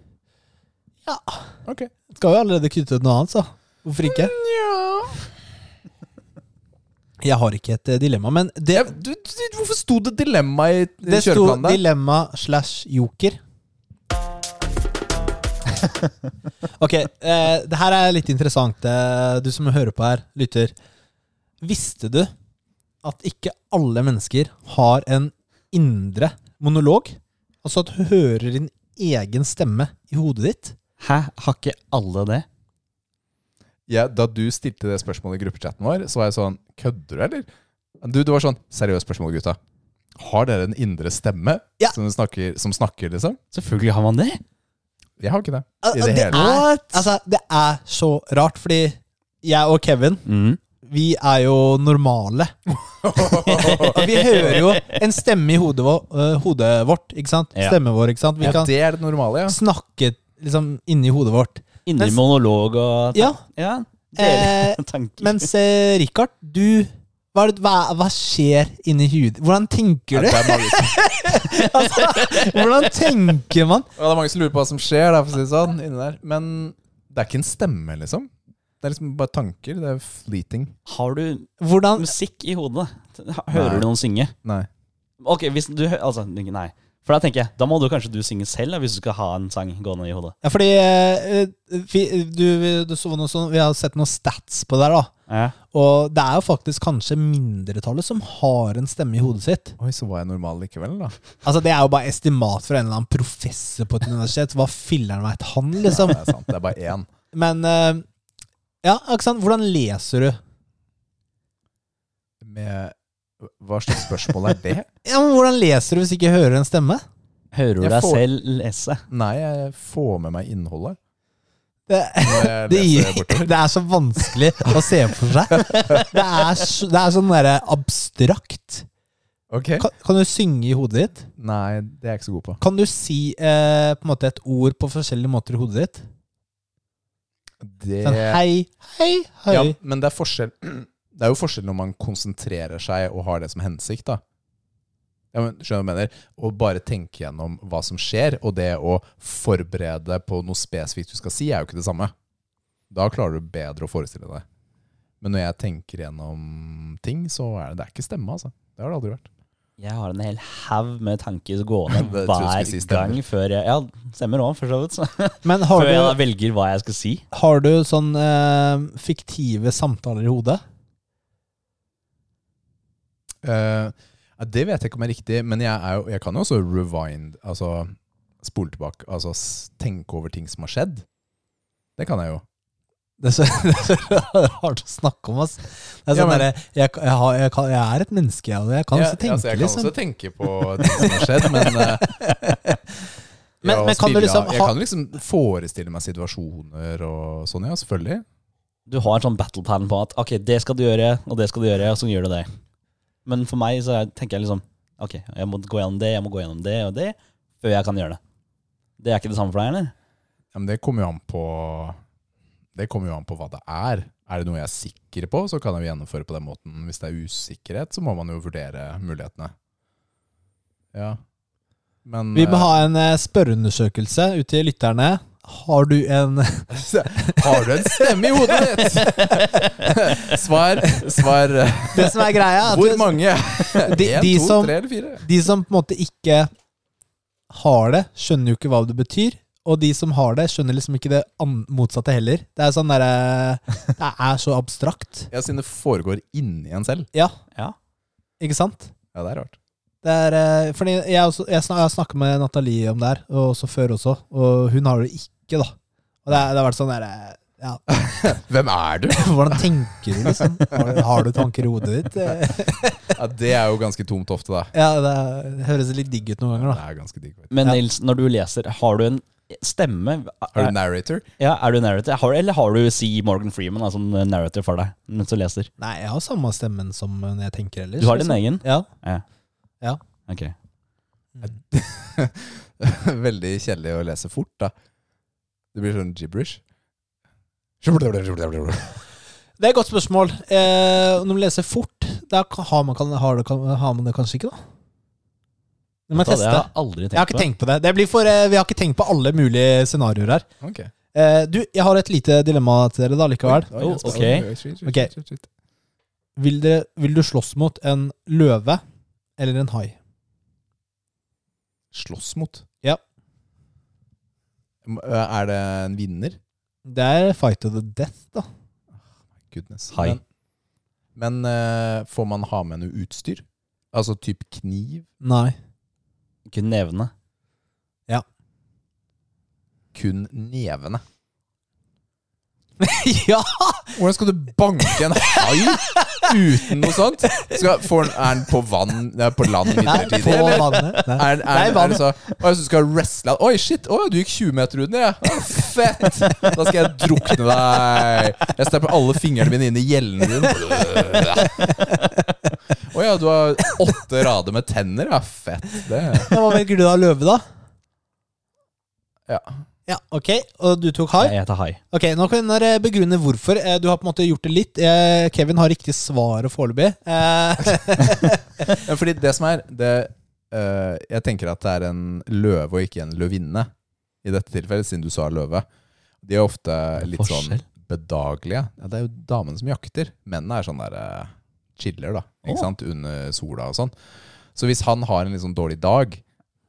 S1: Ja.
S3: Ok.
S1: Skal jo allerede kutte ut noe annet, så. Hvorfor ikke? Jeg har ikke et eh, dilemma, men det,
S3: Ja, du, du, hvorfor sto det dilemma i
S1: det
S3: i
S1: sto
S3: kjøreplanen der?
S1: dilemma slash joker. <laughs> Ok, eh, det her er litt interessant. eh, Du som hører på her, lytter. Visste du at ikke alle mennesker har en indre monolog? Altså at du hører din egen stemme i hodet ditt?
S2: Hæ, har ikke alle det?
S3: Ja, da du stilte det spørsmålet i gruppechatten vår, så var jeg sånn Kødder du, eller? Du, det var sånn Seriøst spørsmål, gutta. Har dere en indre stemme
S1: Ja.
S3: som, du snakker, som snakker, liksom?
S2: Selvfølgelig har man det.
S3: Jeg har ikke det.
S1: Al-
S3: I det
S1: det
S3: hele
S1: er-
S3: tatt.
S1: Altså, det er så rart, fordi jeg og Kevin,
S3: Mm.
S1: vi er jo
S3: <laughs>
S1: normale. Og vi hører jo en stemme i hodet, vår, øh, hodet vårt, ikke sant?
S2: Ja.
S1: Stemmen vår, ikke sant? Vi
S3: Ja,
S1: kan
S3: det er det normale, ja.
S1: snakke liksom inni hodet vårt.
S2: Indre
S1: Mens-
S2: monolog og
S1: Ja,
S2: ja
S1: eh,
S2: <laughs> tanker.
S1: mens eh, Richard, du hva, er det- hva, hva skjer inni huet? Hvordan tenker
S3: Ja, <laughs>
S1: du?
S3: det, er mange som,
S1: Altså, hvordan tenker man?
S3: ja, det er mange som lurer på hva som skjer, da, for å si det sånn, inni der. Men det er ikke en stemme, liksom. Det er liksom bare tanker. Det er fleeting.
S2: har du
S1: Hvordan
S2: musikk i hodet? Hører
S3: Nei.
S2: du noen synge?
S3: Nei.
S2: Ok, hvis du hø- Altså, nei. For da tenker jeg, da må du kanskje du synge selv, da, hvis du skal ha en sang gående i hodet.
S1: Ja, fordi eh, vi, du, du så noe sånn, vi har sett noen stats på det her, da. Og det er jo faktisk kanskje mindretallet som har en stemme i hodet sitt.
S3: Oi, så var jeg normal likevel, da.
S1: Altså Det er jo bare estimat fra en eller annen professor på et universitet. Hva filleren veit han, liksom?
S3: <laughs> Det er sant. Det er bare én.
S1: Men eh, Ja, ikke sant? Hvordan leser du?
S3: Med Hva slags spørsmål er det?
S1: Ja, men Hvordan leser du hvis ikke jeg hører en stemme?
S2: Hører du
S3: Jeg
S2: deg
S3: får-
S2: selv lese?
S3: Nei, jeg får med meg innholdet.
S1: Det,
S3: Når jeg
S1: det,
S3: leser
S1: gir,
S3: bortover.
S1: det er så vanskelig å se for seg. Det er, så- det er sånn derre abstrakt.
S3: Ok.
S1: Kan, kan du synge i hodet ditt?
S3: Nei, det er jeg ikke så god på.
S1: Kan du si eh, på en måte et ord på forskjellige måter i hodet ditt?
S3: Det
S1: Sånn hei, hei, hei.
S3: ja, men det er forskjell <clears throat> Det er jo forskjell når man konsentrerer seg og har det som hensikt, da. Ja, men skjønner du hva jeg mener? Å bare tenke gjennom hva som skjer, og det å forberede på noe spesifikt du skal si, er jo ikke det samme. Da klarer du bedre å forestille deg. Men når jeg tenker gjennom ting, så er det, det er ikke stemme, altså. Det har det aldri vært.
S2: Jeg har en hel haug med tanker gående
S3: <laughs> Det tror jeg skulle
S2: hver
S3: si stemmer.
S2: gang før jeg Ja, stemmer òg, for så vidt. så.
S1: Men har
S2: Før jeg da
S1: du,
S2: velger hva jeg skal si.
S1: har du sånn eh, fiktive samtaler i hodet?
S3: Eh, ja, det vet jeg ikke om er riktig, men jeg, er jo, jeg kan jo også rewind, altså spole tilbake, altså s- tenke over ting som har skjedd. Det kan jeg jo.
S1: Det er så, <laughs> det er så rart å snakke om, ass. Det er
S3: Ja,
S1: sånn
S3: men-
S1: derre jeg, jeg, har- jeg, kan- jeg er et menneske, og jeg kan
S3: Ja,
S1: også tenke,
S3: altså, jeg kan
S1: liksom.
S3: også tenke på ting som har skjedd, men
S1: <laughs>
S3: eh,
S1: Men-
S3: ja, å
S1: men kan du
S3: spille
S1: liksom
S3: av- Jeg
S1: ha-
S3: kan liksom forestille meg situasjoner og sånn, ja, selvfølgelig.
S2: Du har en sånn battle plan på at ok, det skal du gjøre, og det skal du gjøre, og så gjør du det. Men for meg så er- tenker jeg liksom ok, jeg må gå gjennom det, jeg må gå gjennom det og det, før jeg kan gjøre det. Det er ikke det samme for deg, eller?
S3: Ja, men det kommer jo an på Det kommer jo an på hva det er. Er det noe jeg er sikker på, så kan jeg jo gjennomføre på den måten. Hvis det er usikkerhet, så må man jo vurdere mulighetene. Ja. Men
S1: Vi må ha en eh, spørreundersøkelse ut til lytterne. Har du en <laughs>
S3: eh, Har du en stemme i hodet ditt? svar. Svar. eh,
S1: Det som er greia, er at
S3: Hvor
S1: du-
S3: mange?
S1: de,
S3: Én,
S1: de,
S3: to,
S1: som,
S3: tre eller fire?
S1: de som på en måte ikke har det, skjønner jo ikke hva det betyr. Og de som har det, skjønner liksom ikke det an- motsatte heller. Det er sånn derre Det er så abstrakt.
S3: Ja, siden det foregår inni en selv.
S1: Ja,
S2: Ja.
S1: ikke sant?
S3: Ja, det er rart.
S1: Det er, eh, fordi jeg, også, jeg, snak, jeg snakket med Nathalie om det her, og også før også, og hun har det ikke, da. Og det, er- det har vært sånn der eh, Ja. <laughs>
S3: Hvem er du?
S1: Hvordan tenker du, liksom? Har du, har du tanker i hodet ditt? Eh,
S3: <laughs>
S1: <laughs>
S3: Ja, det er jo ganske tomt ofte, da.
S1: Ja, det er- det høres litt digg ut noen ganger,
S3: Det
S1: da.
S3: er ganske digg. vet du.
S2: Men
S1: Ja.
S2: Nils, når du leser, har du en stemme?
S3: Har du narrator? <laughs>
S2: Ja, er du narrator? Har, eller har du C. Morgan Freeman da, som narrator for deg mens du leser?
S1: Nei, jeg har samme stemmen som når jeg tenker ellers.
S2: Du har din
S1: liksom.
S2: egen?
S1: Ja.
S2: Ok.
S3: Veldig kjedelig å lese fort, da. Det blir sånn gibberish. Nei,
S1: Det er et godt spørsmål. Eh, når man leser fort, da kan- har man, kan, har, det, kan, har man det kanskje ikke, da? Det må jeg
S2: Det hadde
S1: teste.
S2: jeg aldri tenkt
S1: Jeg har ikke tenkt på det. det blir for, eh, vi har ikke tenkt på alle mulige scenarioer her.
S3: Ok.
S1: Eh, du, jeg har et lite dilemma til dere da likevel.
S2: Oh, ok.
S3: ok.
S1: Vil, dere, vil du slåss mot en løve eller en hai?
S3: Slåss mot?
S1: Ja.
S3: M- Er det en vinner?
S1: Det er fight to the death, da.
S3: Goodness.
S2: Hai.
S3: Men, men eh, får man ha med noe utstyr? Altså typ kniv?
S1: Nei.
S2: Kun nevene.
S3: Kun nevene.
S1: ja!
S3: Hvordan skal du banke en hai uten noe sånt? Skal, får, den- er den på vann Nei, på land
S1: Nei,
S3: midlertidig?
S1: på
S3: eller?
S1: vannet. Nei.
S3: Er, er,
S1: Nei,
S3: er,
S1: vann.
S3: det så Å, jeg synes du skal wrestle Oi, shit! Å, du gikk 20 meter under, ja. Å, fett! Da skal jeg drukne deg. Jeg stapper alle fingrene mine inn i gjellene dine. Å ja, du har åtte rader med tenner, ja. Fett. Det
S1: Ja, Hva velger du da? Løve, da?
S3: Ja.
S1: Ja, ok. Og du tok hai?
S2: Jeg heter Hai.
S1: Ok, Nå kan dere begrunne hvorfor. Eh, Du har på en måte gjort det litt. Eh, Kevin har riktig svar foreløpig. Eh,
S3: Ja, Fordi det som er det, eh, Jeg tenker at det er en løve og ikke en løvinne i dette tilfellet, siden du sa løve. De er ofte litt sånn
S2: forskjell.
S3: bedagelige. Ja, det er jo damene som jakter. Mennene er sånn der eh, chiller, da. Ikke sant? Under sola og sånn. Så hvis han har en litt sånn dårlig dag,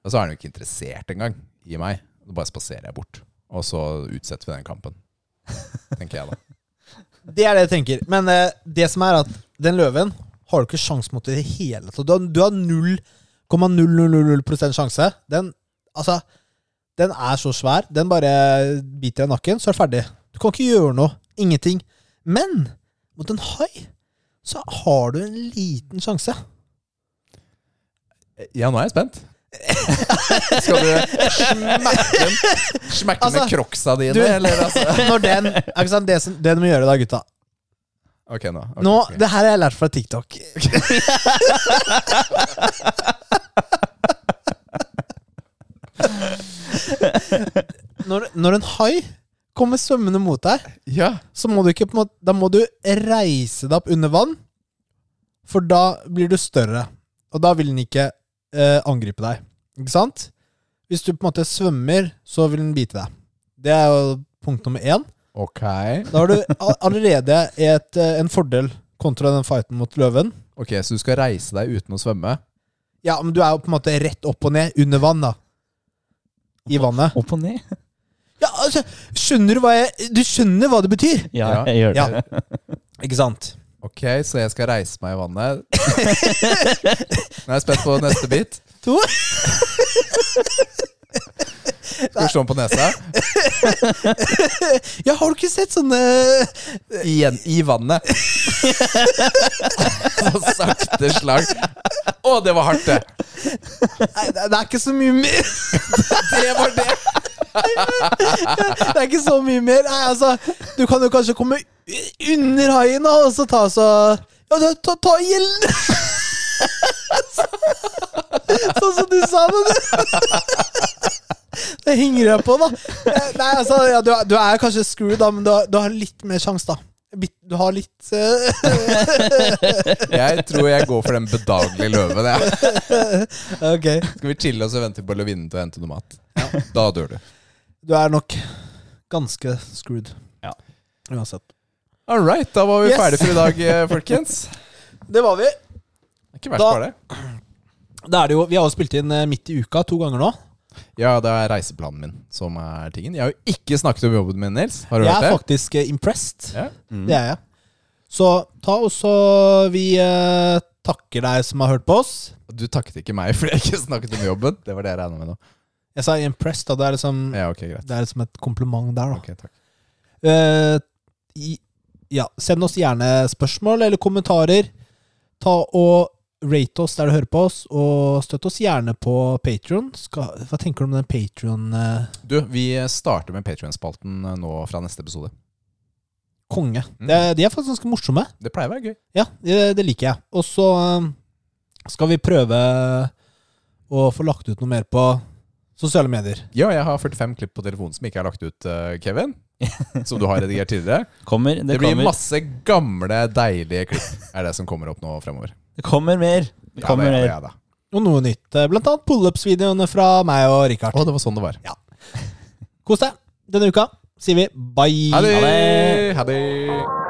S3: da så er han jo ikke interessert engang i meg. Da bare spaserer jeg bort. Og så utsetter vi den kampen. Tenker jeg, da.
S1: det er det jeg tenker. Men eh, det som er at den løven har du ikke sjans mot i det hele tatt. Du har- Du har 0,0000 sjanse. Den altså, den er så svær. Den bare biter deg i nakken, så er du ferdig. Du kan ikke gjøre noe. Ingenting. Men mot en hai så har du en liten sjanse. <laughs>
S3: Ja, nå er jeg spent. <laughs> Skal du smekke, smekke
S1: Altså,
S3: med crocsa dine,
S1: du-
S3: eller altså
S1: Når den, ikke sant, det, som- det du må gjøre da, gutta
S3: Ok, nå. ok,
S1: Nå,
S3: ok.
S1: Det her har jeg lært fra TikTok. når, når en hai kommer svømmende mot deg,
S3: Ja.
S1: så må du ikke på en måte, Da må du reise deg opp under vann, for da blir du større. Og da vil den ikke eh, angripe deg. Ikke sant? Hvis du på en måte svømmer, så vil den bite deg. Det er jo punkt nummer én.
S3: Ok.
S1: Da har du a- allerede et, eh, en fordel kontra den fighten mot løven.
S3: Ok, Så du skal reise deg uten å svømme?
S1: Ja, men du er jo på en måte rett opp og ned under vann, da. I vannet.
S2: Opp og ned.
S1: Ja, altså, skjønner du hva jeg Du skjønner hva det betyr?
S3: Ja.
S2: Ja, jeg gjør det.
S1: Ja. Ikke sant?
S3: Ok, så jeg skal reise meg i <laughs> vannet. Nå er jeg spent på neste bit.
S1: To.
S3: Skal vi slå den på nesa?
S1: Ja, har du ikke sett sånne
S3: Igjen i vannet. Så sakte slag. Å, det var hardt, det.
S1: Nei, det det er ikke så mye mer.
S3: Det var det.
S1: Det er ikke så mye mer. Nei, altså, du kan jo kanskje komme u- under haien, da, og så ta så Ja, da, ta, ta gjelden! <laughs> Sånn som du sa det, du. Det henger jeg på, da. Eh, Nei, altså, ja, du, er- du er kanskje screwed, da, men du har, du har litt mer sjanse, da. Bitt- Du har litt eh,
S3: Jeg tror jeg går for den bedagelige løven. Jeg.
S1: Ok.
S3: Skal vi chille oss og vente på løvinnen til å hente noe mat? Da dør du.
S1: Du er nok ganske screwed.
S2: Ja.
S1: Uansett.
S3: All right, da var vi
S1: Yes.
S3: ferdige for i dag, eh, folkens.
S1: Det var vi.
S3: Det er Ikke verst
S1: Da-
S3: bare det.
S1: Da er det jo, vi har jo spilt inn eh, midt i uka to ganger nå.
S3: Ja, det er reiseplanen min som er tingen. Jeg har jo ikke snakket om jobben min, Nils. Har du
S1: Jeg er
S3: hørt det?
S1: faktisk eh, impressed.
S3: Ja.
S1: Det er jeg. Så ta også Vi eh, takker deg som har hørt på oss.
S3: Du takket ikke meg <laughs> fordi jeg ikke snakket om jobben. Det var det jeg regna med nå.
S1: Jeg sa impressed, da. Det er liksom,
S3: Ja, ok, greit.
S1: det er liksom et kompliment der, da.
S3: Ok, takk.
S1: Eh, i- ja, send oss gjerne spørsmål eller kommentarer. Ta og rate oss der du hører på oss, og støtt oss gjerne på Patron. Hva tenker du om den eh, Patron?
S3: Du, vi starter med Patrion-spalten nå fra neste episode.
S1: konge.
S3: Mm.
S1: Det, de er faktisk ganske morsomme.
S3: Det pleier å være gøy.
S1: Ja, det, det liker jeg. Og så um, skal vi prøve å få lagt ut noe mer på sosiale medier.
S3: Ja, jeg har 45 klipp på telefonen som ikke er lagt ut, eh, Kevin. Som du har redigert tidligere.
S5: Kommer,
S3: Det,
S5: det,
S3: blir
S5: kommer,
S3: masse gamle, deilige klipp. Er det som kommer opp nå fremover.
S5: det kommer mer. Det kommer
S3: ja, da,
S5: mer.
S3: ja, da.
S1: Og noe nytt. eh, Blant annet pullups-videoene fra meg og Richard.
S3: Å, det var sånn det var.
S1: Kos deg. Denne uka sier vi bye.
S3: Ha det! Ha det.